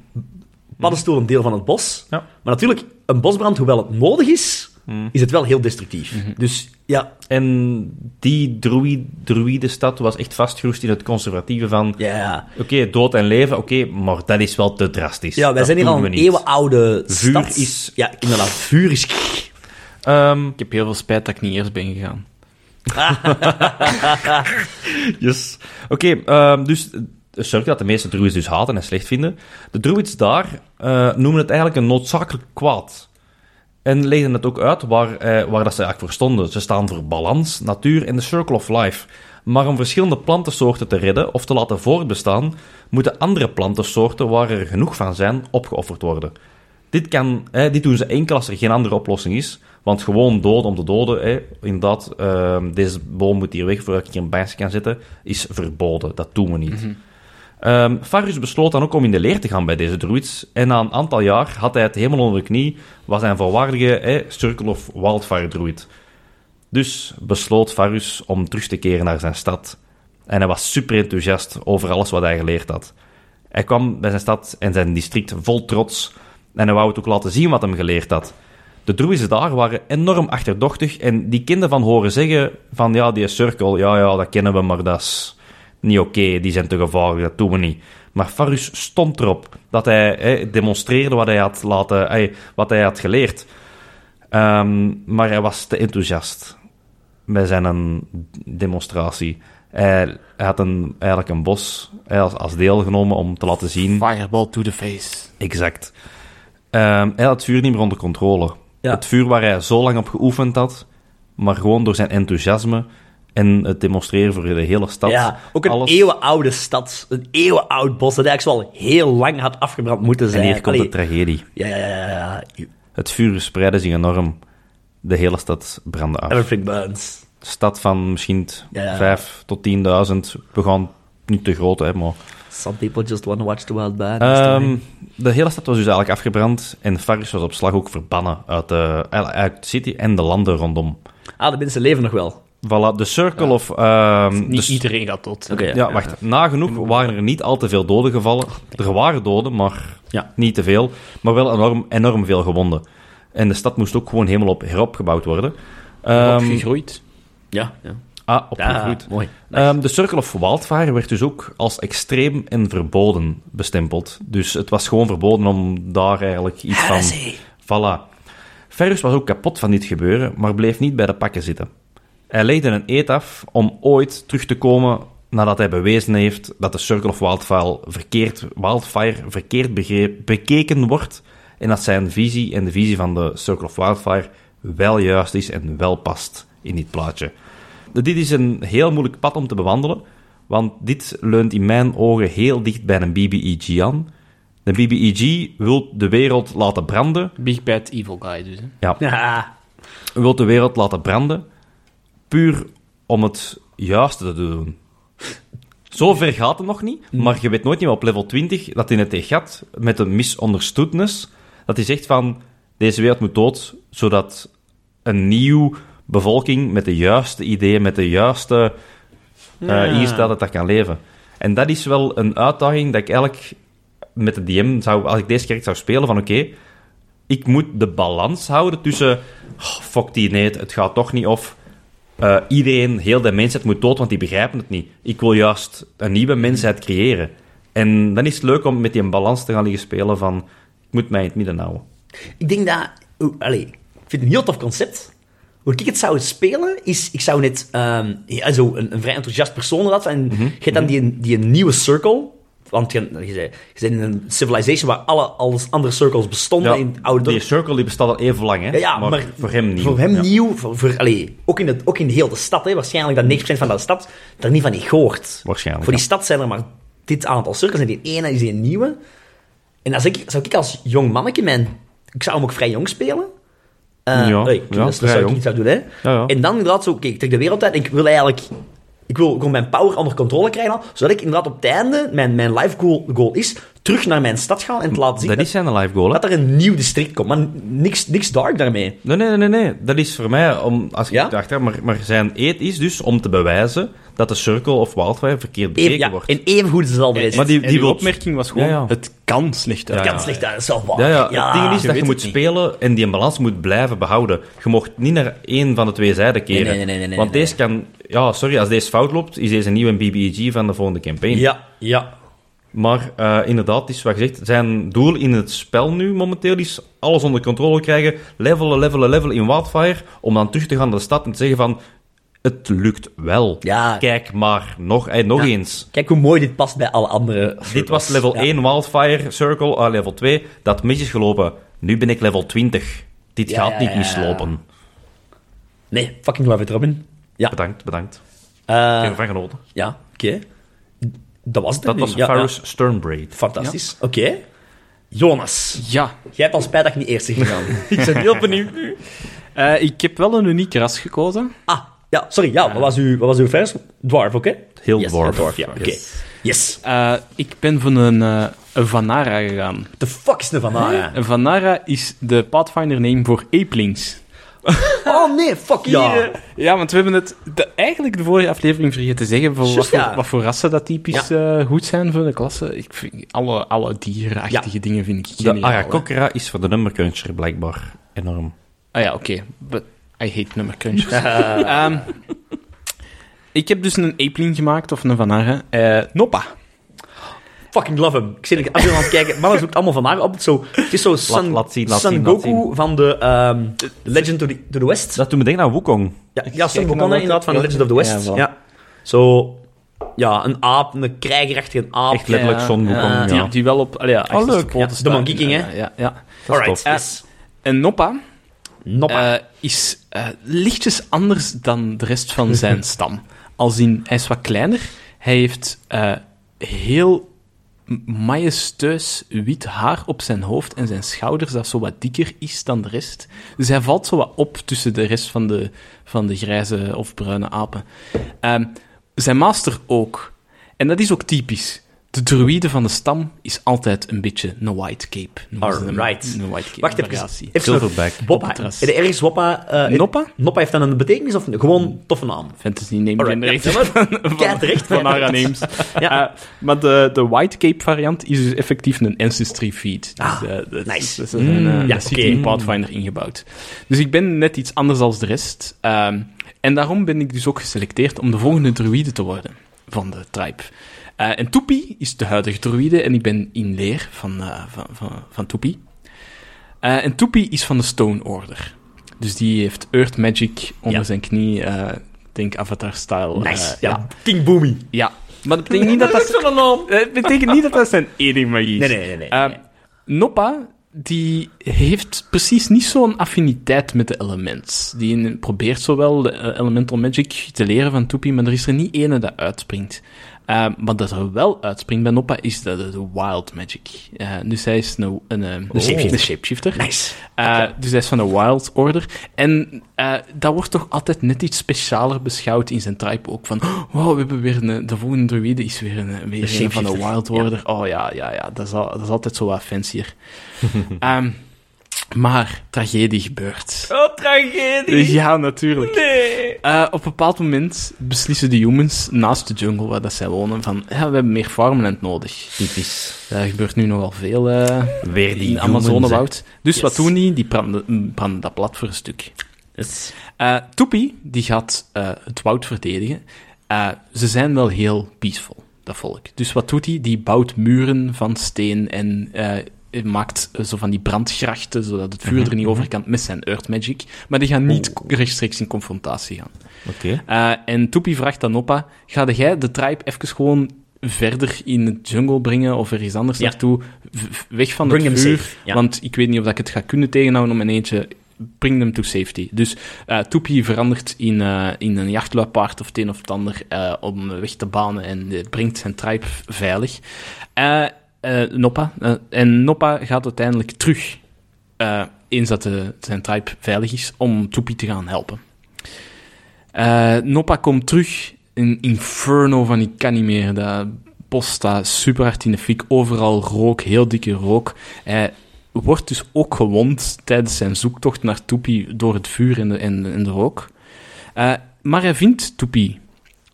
Speaker 2: paddenstoel een deel van het bos.
Speaker 1: Ja. Hmm.
Speaker 2: Maar natuurlijk, een bosbrand, hoewel het nodig is, is het wel heel destructief.
Speaker 1: Mhm.
Speaker 2: Dus ja,
Speaker 1: en die druï- druïdenstad was echt vastgeroest in het conservatieve van...
Speaker 2: ja.
Speaker 1: Oké, dood en leven, oké, maar dat is wel te drastisch.
Speaker 2: ja wij
Speaker 1: Dat
Speaker 2: zijn hier
Speaker 1: doen
Speaker 2: al
Speaker 1: we
Speaker 2: een
Speaker 1: niet.
Speaker 2: eeuwenoude
Speaker 1: Vuur
Speaker 2: stad.
Speaker 1: is-
Speaker 2: Ja, inderdaad, vuur is...
Speaker 1: Ehm,
Speaker 3: Ik heb heel veel spijt dat ik niet eerst ben gegaan.
Speaker 1: Yes. Oké, ehm, dus de cirkel dat de meeste druids dus haten en slecht vinden. De druids daar eh, noemen het eigenlijk een noodzakelijk kwaad. En legden het ook uit waar, eh, waar dat ze eigenlijk voor stonden. Ze staan voor balans, natuur en de circle of life. Maar om verschillende plantensoorten te redden of te laten voortbestaan, moeten andere plantensoorten, waar er genoeg van zijn, opgeofferd worden. Dit, kan, hè, dit doen ze enkel als er geen andere oplossing is. Want gewoon dood om te doden, hè, inderdaad, ehm, deze boom moet hier weg voordat ik hier een baasje kan zetten, is verboden. Dat doen we niet. Ehm, Farus besloot dan ook om in de leer te gaan bij deze druids. En na een aantal jaar had hij het helemaal onder de knie, was hij een volwaardige hè, Circle of Wildfire druid. Dus besloot Farus om terug te keren naar zijn stad. En hij was super enthousiast over alles wat hij geleerd had. Hij kwam bij zijn stad en zijn district vol trots. En hij wou het ook laten zien wat hem geleerd had. De druïden daar waren enorm achterdochtig en die kinderen van horen zeggen van ja, die cirkel, ja, ja, dat kennen we, maar dat is niet oké, die zijn te gevaarlijk, dat doen we niet. Maar Farus stond erop dat hij hè, demonstreerde wat hij had, laten, hè, wat hij had geleerd. Ehm, maar hij was te enthousiast bij zijn een demonstratie. Hij, hij had een, eigenlijk een bos hè, als, als deel genomen om te laten zien.
Speaker 3: Fireball to the face.
Speaker 1: Exact. Ehm, hij had het vuur niet meer onder controle.
Speaker 2: Ja.
Speaker 1: Het vuur waar hij zo lang op geoefend had, maar gewoon door zijn enthousiasme en het demonstreren voor de hele stad.
Speaker 2: ja, ook een
Speaker 1: alles-
Speaker 2: eeuwenoude stad. Een eeuwenoud bos dat eigenlijk zo al heel lang had afgebrand moeten
Speaker 1: En
Speaker 2: zijn.
Speaker 1: hier komt de
Speaker 2: Allee,
Speaker 1: tragedie.
Speaker 2: ja, ja, ja, ja. ja.
Speaker 1: Het vuur spreidde zich enorm. De hele stad brandde af.
Speaker 2: Everything burns.
Speaker 1: stad van misschien
Speaker 2: Ja.
Speaker 1: 5 tot 10.000. We gaan niet te groot, hè, maar...
Speaker 2: Some people just want to watch the wild burn.
Speaker 1: Ehm, de hele stad was dus eigenlijk afgebrand en Faris was op slag ook verbannen uit de, uit de city en de landen rondom.
Speaker 2: ah, de mensen leven nog wel.
Speaker 1: Voilà, de Circle of... ehm, de
Speaker 3: Niet
Speaker 1: s-
Speaker 3: iedereen gaat tot.
Speaker 2: Oké,
Speaker 1: ja, wacht. Nagenoeg waren er niet al te veel doden gevallen. Er waren doden, maar
Speaker 2: Ja.
Speaker 1: niet te veel. Maar wel enorm, enorm veel gewonden. En de stad moest ook gewoon helemaal op, heropgebouwd worden.
Speaker 3: Ehm,
Speaker 1: Ehm,
Speaker 3: Opgegroeid.
Speaker 2: Ja, ja.
Speaker 1: ah,
Speaker 2: ja
Speaker 1: opgegroeid.
Speaker 2: mooi.
Speaker 1: Ehm, de Circle of Wildfire werd dus ook als extreem en verboden bestempeld. Dus het was gewoon verboden om daar eigenlijk iets van...
Speaker 2: Heresy.
Speaker 1: Voilà. Ferrus was ook kapot van dit gebeuren, maar bleef niet bij de pakken zitten. Hij leidde een eet af om ooit terug te komen nadat hij bewezen heeft dat de Circle of Wildfire verkeerd, Wildfire verkeerd begreep, bekeken wordt en dat zijn visie en de visie van de Circle of Wildfire wel juist is en wel past in dit plaatje. Dus Dit is een heel moeilijk pad om te bewandelen, want dit leunt in mijn ogen heel dicht bij een BBEG aan. De BBEG wil de wereld laten branden,
Speaker 3: Big Bad Evil Guy dus. Hè.
Speaker 2: Ja.
Speaker 1: wil de wereld laten branden, puur om het juiste te doen. Zo ver gaat het nog niet, maar je weet nooit niet wat op level 20 dat in het echt gaat met een misunderstoodness. Dat hij zegt van, deze wereld moet dood, zodat een nieuwe bevolking met de juiste ideeën, met de juiste eh
Speaker 2: Ja.
Speaker 1: hier staat dat dat kan leven. En dat is wel een uitdaging dat ik eigenlijk met de DM zou, als ik deze kerk zou spelen, van oké, ik moet de balans houden tussen "Oh, fuck die, nee, het, het gaat toch niet, of eh, iedereen, heel de mensheid moet dood, want die begrijpen het niet. Ik wil juist een nieuwe mensheid creëren. En dan is het leuk om met die balans te gaan liggen spelen van, ik moet mij in het midden houden.
Speaker 2: Ik denk dat... oeh, allee, ik vind het een heel tof concept. Hoe ik het zou spelen, is... Ik zou net ehm, ja, zo een, een vrij enthousiast persoon laten. En
Speaker 1: Mhm,
Speaker 2: je hebt dan die, die nieuwe circle. Want je, je, zei- je bent in een civilization waar alle, alles andere circles bestonden in het oude
Speaker 1: die circle die bestaat al even lang, hè?
Speaker 2: Oh, Ja, ja, maar,
Speaker 1: voor hem niet.
Speaker 2: Voor hem
Speaker 1: Ja.
Speaker 2: nieuw, voor, voor- allee, ook, in het, ook in heel de stad. Hè, waarschijnlijk dat 90% van de stad er niet van heeft gehoord.
Speaker 1: Waarschijnlijk,
Speaker 2: Voor die
Speaker 1: ja.
Speaker 2: stad zijn er maar dit aantal cirkels en die ene is die nieuwe. En dan zou ik, zou ik als jong manneke mijn... Ik zou hem ook vrij jong spelen. Eh,
Speaker 1: Ja,
Speaker 2: allee, ik-
Speaker 1: ja,
Speaker 2: dat is-
Speaker 1: vrij
Speaker 2: dat zou ik
Speaker 1: jong.
Speaker 2: niet zou doen. Hè.
Speaker 1: Ja, ja.
Speaker 2: En dan inderdaad zo, oké, ik trek de wereld uit en ik wil eigenlijk... Ik wil gewoon mijn power onder controle krijgen al, zodat ik inderdaad op het einde, mijn, mijn life goal, goal is, terug naar mijn stad gaan en te laten zien
Speaker 1: Dat is zijn live goal, hè?
Speaker 2: dat er een nieuw district komt. Maar niks, niks dark daarmee.
Speaker 1: Nee, nee, nee, nee. Dat is voor mij, om, als ik
Speaker 2: Ja?
Speaker 1: dacht, maar, maar zijn eet is dus om te bewijzen dat de Circle of Wildfire verkeerd bekeken
Speaker 2: Even, ja,
Speaker 1: wordt.
Speaker 2: en even goed als al de rest.
Speaker 1: Maar die,
Speaker 3: En
Speaker 1: die
Speaker 3: uw
Speaker 1: wil-
Speaker 3: opmerking was gewoon,
Speaker 1: Ja, ja.
Speaker 3: het kan slecht uit.
Speaker 1: Ja,
Speaker 2: Kans
Speaker 1: ja.
Speaker 2: ligt daar, dat is wel waar.
Speaker 1: Ja, ja, Het ding is dat
Speaker 3: je weet
Speaker 1: je moet
Speaker 3: het niet.
Speaker 1: spelen en die balans moet blijven behouden. Je mocht niet naar één van de twee zijden keren.
Speaker 2: Nee, nee, nee, nee, nee,
Speaker 1: Want
Speaker 2: nee,
Speaker 1: deze kan... Ja, sorry, als deze fout loopt, is deze een nieuwe BBEG van de volgende campaign.
Speaker 2: Ja, ja.
Speaker 1: Maar eh, inderdaad, het is wat gezegd. Zijn doel in het spel nu momenteel is alles onder controle krijgen. Levelen, levelen, levelen in Wildfire. Om dan terug te gaan naar de stad en te zeggen van... Het lukt wel.
Speaker 2: Ja.
Speaker 1: Kijk maar nog, eh, nog
Speaker 2: Ja.
Speaker 1: eens.
Speaker 2: Kijk hoe mooi dit past bij alle andere.
Speaker 1: Dit was level
Speaker 2: Ja.
Speaker 1: 1 Wildfire Circle, ah, level 2. Dat mis is gelopen. Nu ben ik level 20. Dit
Speaker 2: Ja,
Speaker 1: gaat
Speaker 2: ja,
Speaker 1: niet
Speaker 2: ja, ja.
Speaker 1: mislopen.
Speaker 2: Nee, fucking Love it, Robin. Ja,
Speaker 1: Bedankt, bedankt. Ik
Speaker 2: eh,
Speaker 1: heb ervan genoten.
Speaker 2: ja oké. Dat was het.
Speaker 1: Dat was
Speaker 2: ja,
Speaker 1: Farus
Speaker 2: ja.
Speaker 1: Sternbraid.
Speaker 2: Fantastisch. Oké. Jonas,
Speaker 3: Ja,
Speaker 2: jij hebt al spijt dat ik niet eerst ben gegaan.
Speaker 1: [LAUGHS]
Speaker 3: ik ben heel benieuwd nu. Eh, ik heb wel een uniek ras gekozen.
Speaker 2: ah, ja, sorry. Ja, wat was uw, wat was uw vers? Dwarf, oké?
Speaker 1: Heel
Speaker 2: Yes,
Speaker 1: dwarf.
Speaker 2: ja, oké. Yes.
Speaker 3: Eh, ik ben van een, eh, een Vanara gegaan.
Speaker 2: The fuck is er van Ara?
Speaker 3: Een Vanara is de Pathfinder name voor Apelings.
Speaker 2: Oh nee, fuck
Speaker 1: eh,
Speaker 2: ja.
Speaker 3: Ja, want we hebben het de, eigenlijk de vorige aflevering vergeten te zeggen. Voor
Speaker 2: Juist,
Speaker 3: wat, voor,
Speaker 2: ja.
Speaker 3: wat voor rassen dat typisch eh, goed zijn voor de klasse. Ik vind alle, alle dierenachtige dingen vind ik
Speaker 1: De
Speaker 3: geniaal. hè.
Speaker 1: Arakokra is voor de nummercruncher blijkbaar enorm.
Speaker 3: Ah ja, oké. But I hate nummercrunchers. Ehm, ik heb dus een Apeling gemaakt, of een Vanara. Eh Noppa.
Speaker 2: Fucking love him. Ik zit in de afbeelding aan het kijken. Mannen zoekt allemaal van haar op. Het, is zo, het is zo Sun,
Speaker 1: laat zien, laat
Speaker 2: Sun
Speaker 1: zien, laat
Speaker 2: Goku van de ehm, Legend of the, to the West.
Speaker 1: Dat doet me denken aan Wukong.
Speaker 2: Ja, ja Sun
Speaker 3: kijk
Speaker 2: Goku
Speaker 3: naar welke-
Speaker 2: inderdaad van de Legend of the
Speaker 3: Ja,
Speaker 2: West. Ja,
Speaker 3: wel.
Speaker 2: Zo, ja, een aap, een krijgerachtige aap.
Speaker 1: Echt letterlijk
Speaker 3: Ja,
Speaker 1: Son Wukong.
Speaker 3: eh,
Speaker 1: Ja,
Speaker 3: die, die wel op... allee, ja, achterste
Speaker 1: leuk.
Speaker 3: poten
Speaker 2: Ja, de
Speaker 3: staan.
Speaker 2: Monkey King, hè?
Speaker 3: Ja, ja, ja.
Speaker 2: Alright,
Speaker 3: tof.
Speaker 2: yes.
Speaker 3: En Noppa
Speaker 2: Noppa.
Speaker 3: eh, is eh, lichtjes anders dan de rest van
Speaker 2: [LAUGHS]
Speaker 3: zijn stam. Als in, hij is wat kleiner. Hij heeft eh, heel m- majesteus wit haar op zijn hoofd en zijn schouders, dat zo wat dikker is dan de rest. Dus hij valt zo wat op tussen de rest van de, van de grijze of bruine apen. Ehm, zijn master ook. En dat is ook typisch. De druïde van de stam is altijd een beetje een white cape. noemen ze hem.
Speaker 2: Alright.
Speaker 3: Een white cape
Speaker 2: Wacht even.
Speaker 3: variatie.
Speaker 2: even
Speaker 1: Silverback.
Speaker 2: nog- Woppa.
Speaker 3: Optras.
Speaker 2: Heb je ergens Woppa... eh,
Speaker 3: Noppa?
Speaker 2: Noppa heeft dan een betekenis of gewoon toffe naam?
Speaker 3: Fantasy name
Speaker 2: Alright.
Speaker 3: generator.
Speaker 2: Ja, maar- Kei terecht.
Speaker 3: [LAUGHS] van
Speaker 2: [LAUGHS]
Speaker 3: Ara Names. ja. maar de, de White Cape variant is dus effectief een Ancestry feed. Dus,
Speaker 2: Ah,
Speaker 3: eh, dat
Speaker 2: nice. Mm.
Speaker 3: Is, dat is een, eh,
Speaker 2: ja,
Speaker 3: dat zit
Speaker 2: oké.
Speaker 3: in Pathfinder ingebouwd. Dus ik ben net iets anders dan de rest. Ehm, en daarom ben ik dus ook geselecteerd om de volgende druïde te worden van de tribe. Eh, en Toepie is de huidige druïde en ik ben in leer van, eh van, van, van Toepie. Eh, en Toepie is van de Stone Order. Dus die heeft Earth Magic onder
Speaker 2: Ja.
Speaker 3: zijn knie. eh, denk Avatar-style.
Speaker 2: Nice.
Speaker 3: eh,
Speaker 2: ja. King Boomy.
Speaker 3: ja, maar dat betekent niet dat dat... Het betekent niet dat dat zijn enige magie is.
Speaker 2: Nee, nee, nee, nee,
Speaker 3: Eh, Noppa, die heeft precies niet zo'n affiniteit met de elements. Die probeert zowel de eh, elemental magic te leren van Toepie, maar er is er niet ene dat uitspringt. Eh, wat dat er wel uitspringt bij Noppa is de, de, de wild magic. Eh, dus hij is een, een, eh,
Speaker 2: shapeshifter.
Speaker 3: een shapeshifter.
Speaker 2: Nice.
Speaker 3: Eh, Dus hij is van de Wild Order. En eh, dat wordt toch altijd net iets specialer beschouwd in zijn tribe ook. Van, wow, we hebben weer een, de volgende druïde is weer een, weer een van de
Speaker 2: shapeshifter,
Speaker 3: Wild Order. Oh ja, ja, ja, dat is, al- dat is altijd zo wat fancier. [LAUGHS] Ehm, maar, tragedie gebeurt.
Speaker 2: Oh, tragedie.
Speaker 3: Ja, natuurlijk.
Speaker 2: Nee.
Speaker 3: Eh, op een bepaald moment beslissen de humans naast de jungle waar dat zij wonen van, ja, we hebben meer farmland nodig.
Speaker 1: Typisch.
Speaker 3: Dat gebeurt nu nogal veel. eh
Speaker 1: Weer die
Speaker 3: in het
Speaker 1: humans,
Speaker 3: Amazonewoud. Dus
Speaker 2: Yes.
Speaker 3: wat doen die? Die branden, mm, branden dat plat voor een stuk. Eh Toepie, die gaat eh, het woud verdedigen. Eh, ze zijn wel heel peaceful, dat volk. Dus wat doet hij? Die bouwt muren van steen en eh, maakt eh, zo van die brandgrachten, zodat het vuur
Speaker 1: Mhm,
Speaker 3: er niet over kan, met zijn Earth Magic. Maar die gaan niet rechtstreeks in confrontatie gaan.
Speaker 1: hè. Oké.
Speaker 3: Eh, en Toepie vraagt aan Noppa, ga jij de tribe even gewoon verder in de jungle brengen of ergens anders
Speaker 2: Ja.
Speaker 3: naartoe, V- v- weg van
Speaker 2: Bring
Speaker 3: het
Speaker 2: hem
Speaker 3: vuur,
Speaker 2: safe, ja.
Speaker 3: want ik weet niet of dat ik het ga kunnen tegenhouden om een eentje, bring hem to safety. Dus eh Toepie verandert in, eh, in een jachtluipaard of het een of het ander eh, om weg te banen en eh, brengt zijn tribe veilig. Eh, eh, Noppa, eh, en Noppa gaat uiteindelijk terug, eh, eens dat de, zijn tribe veilig is, om Toepie te gaan helpen. Eh, Noppa komt terug. Een inferno van ik kan niet meer. Dat bos staat super hard in de fik. Overal rook, heel dikke rook. Eh, Hij wordt dus ook gewond tijdens zijn zoektocht naar Toepie door het vuur en de, en, de- en de rook. Eh, maar hij vindt Toepie.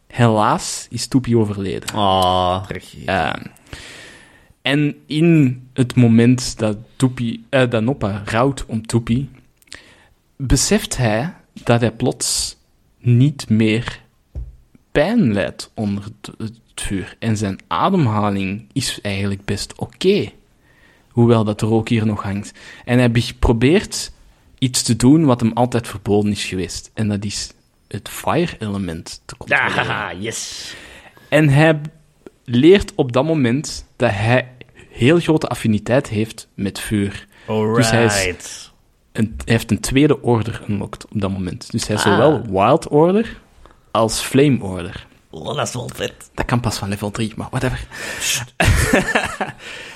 Speaker 3: Helaas is Toepie overleden.
Speaker 2: Ah.
Speaker 1: Tragedie.
Speaker 3: Eh, en in het moment dat, Toepie, eh, dat Noppa rouwt om Toepie, beseft hij dat hij plots niet meer pijn lijdt onder het, het vuur. En zijn ademhaling is eigenlijk best oké. Hoewel dat er ook hier nog hangt. En hij be- probeert iets te doen wat hem altijd verboden is geweest. En dat is het fire element te controleren.
Speaker 2: Ah, haha, yes.
Speaker 3: En hij b- leert op dat moment dat hij heel grote affiniteit heeft met vuur.
Speaker 2: Alright.
Speaker 3: Dus hij is- En hij heeft een tweede order unlocked op dat moment. Dus hij is
Speaker 2: Ah.
Speaker 3: zowel Wild Order als Flame Order.
Speaker 2: Oh, dat is wel vet.
Speaker 3: Dat kan pas van level 3, maar whatever.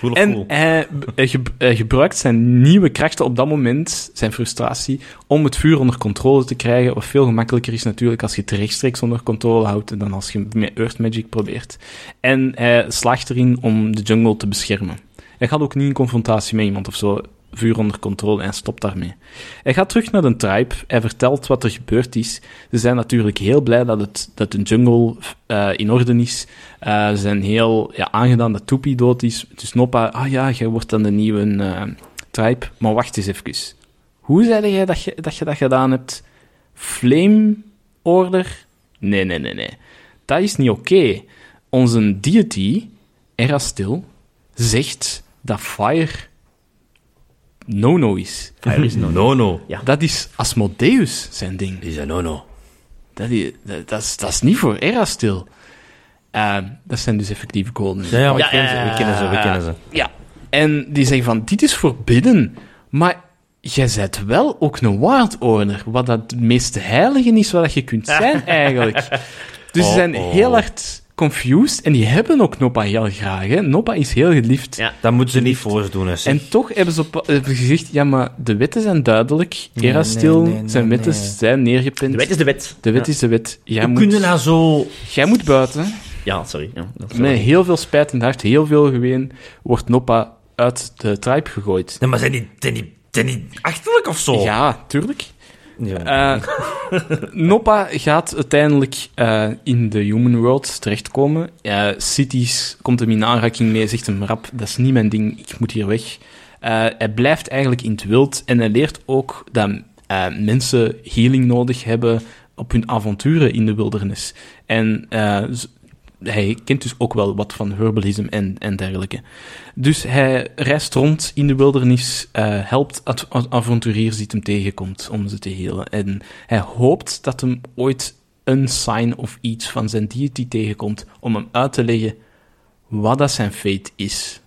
Speaker 1: Cool of
Speaker 3: En
Speaker 1: cool.
Speaker 3: hij, b- hij ge- hij gebruikt zijn nieuwe krachten op dat moment, zijn frustratie, om het vuur onder controle te krijgen. Wat veel gemakkelijker is natuurlijk als je het rechtstreeks onder controle houdt dan als je met Earth Magic probeert. En hij slaagt erin om de jungle te beschermen. Hij gaat ook niet in confrontatie met iemand of zo. Vuur onder controle en stopt daarmee. Hij gaat terug naar de tribe. Hij vertelt wat er gebeurd is. Ze zijn natuurlijk heel blij dat, het, dat de jungle eh, in orde is. Eh, ze zijn heel ja, aangedaan dat Toepie dood is. Dus Noppa, ah ja, jij wordt dan de nieuwe eh, tribe. Maar wacht eens even. Hoe zei jij dat je, dat je dat gedaan hebt? Flame Order? Nee, nee, nee, nee. Dat is niet oké. Onze deity, Erastil, zegt dat fire no-no is.
Speaker 1: Fire is no-no.
Speaker 2: Ja.
Speaker 3: Dat is Asmodeus zijn ding.
Speaker 1: Is een no-no.
Speaker 3: Dat is, dat, dat is, dat is niet voor Erastil. Ehm dat zijn dus effectieve golden.
Speaker 1: Ja, ja, we,
Speaker 2: Ja,
Speaker 1: kennen ze,
Speaker 2: ja,
Speaker 1: we kennen ze, we
Speaker 3: ja.
Speaker 1: kennen ze.
Speaker 3: Ja. En die zeggen van, dit is forbidden. Maar jij bent wel ook een wild order. Wat dat het meest heilige is wat dat je kunt
Speaker 1: [LAUGHS]
Speaker 3: zijn, eigenlijk. Dus ze
Speaker 1: Oh,
Speaker 3: zijn
Speaker 1: oh.
Speaker 3: heel hard confused. En die hebben ook Noppa heel graag. Hè. Noppa is heel geliefd.
Speaker 2: Ja.
Speaker 1: Dat moeten ze niet voordoen, hè, zeg.
Speaker 3: En toch hebben ze, op- hebben ze gezegd, ja, maar de wetten zijn duidelijk.
Speaker 1: Nee,
Speaker 3: Erastil,
Speaker 1: nee, nee,
Speaker 3: zijn
Speaker 1: nee,
Speaker 3: wetten
Speaker 1: nee.
Speaker 3: zijn neergepend.
Speaker 2: De wet is de wet.
Speaker 3: De wet is de wet. Jij
Speaker 1: Hoe
Speaker 3: moet,
Speaker 1: kunnen nou zo...
Speaker 3: jij moet buiten.
Speaker 2: Ja, sorry. Ja, dat is-
Speaker 3: Met heel veel spijt in het hart, heel veel geween, wordt Noppa uit de tribe gegooid.
Speaker 1: Nee, maar zijn die, zijn die, zijn die achterlijk of zo?
Speaker 3: Ja, tuurlijk.
Speaker 1: Ja.
Speaker 3: [LAUGHS] Eh, Noppa gaat uiteindelijk eh, in de human world terechtkomen. Eh, cities komt hem in aanraking mee, zegt hem rap, dat is niet mijn ding, ik moet hier weg. Eh, hij blijft eigenlijk in het wild en hij leert ook dat eh, mensen healing nodig hebben op hun avonturen in de wildernis. En eh, z- hij kent dus ook wel wat van herbalism en, en dergelijke. Dus hij reist rond in de wildernis, eh, helpt ad- ad- avonturiers die het hem tegenkomt om ze te helen. En hij hoopt dat hem ooit een sign of iets van zijn deity tegenkomt om hem uit te leggen wat dat zijn fate is.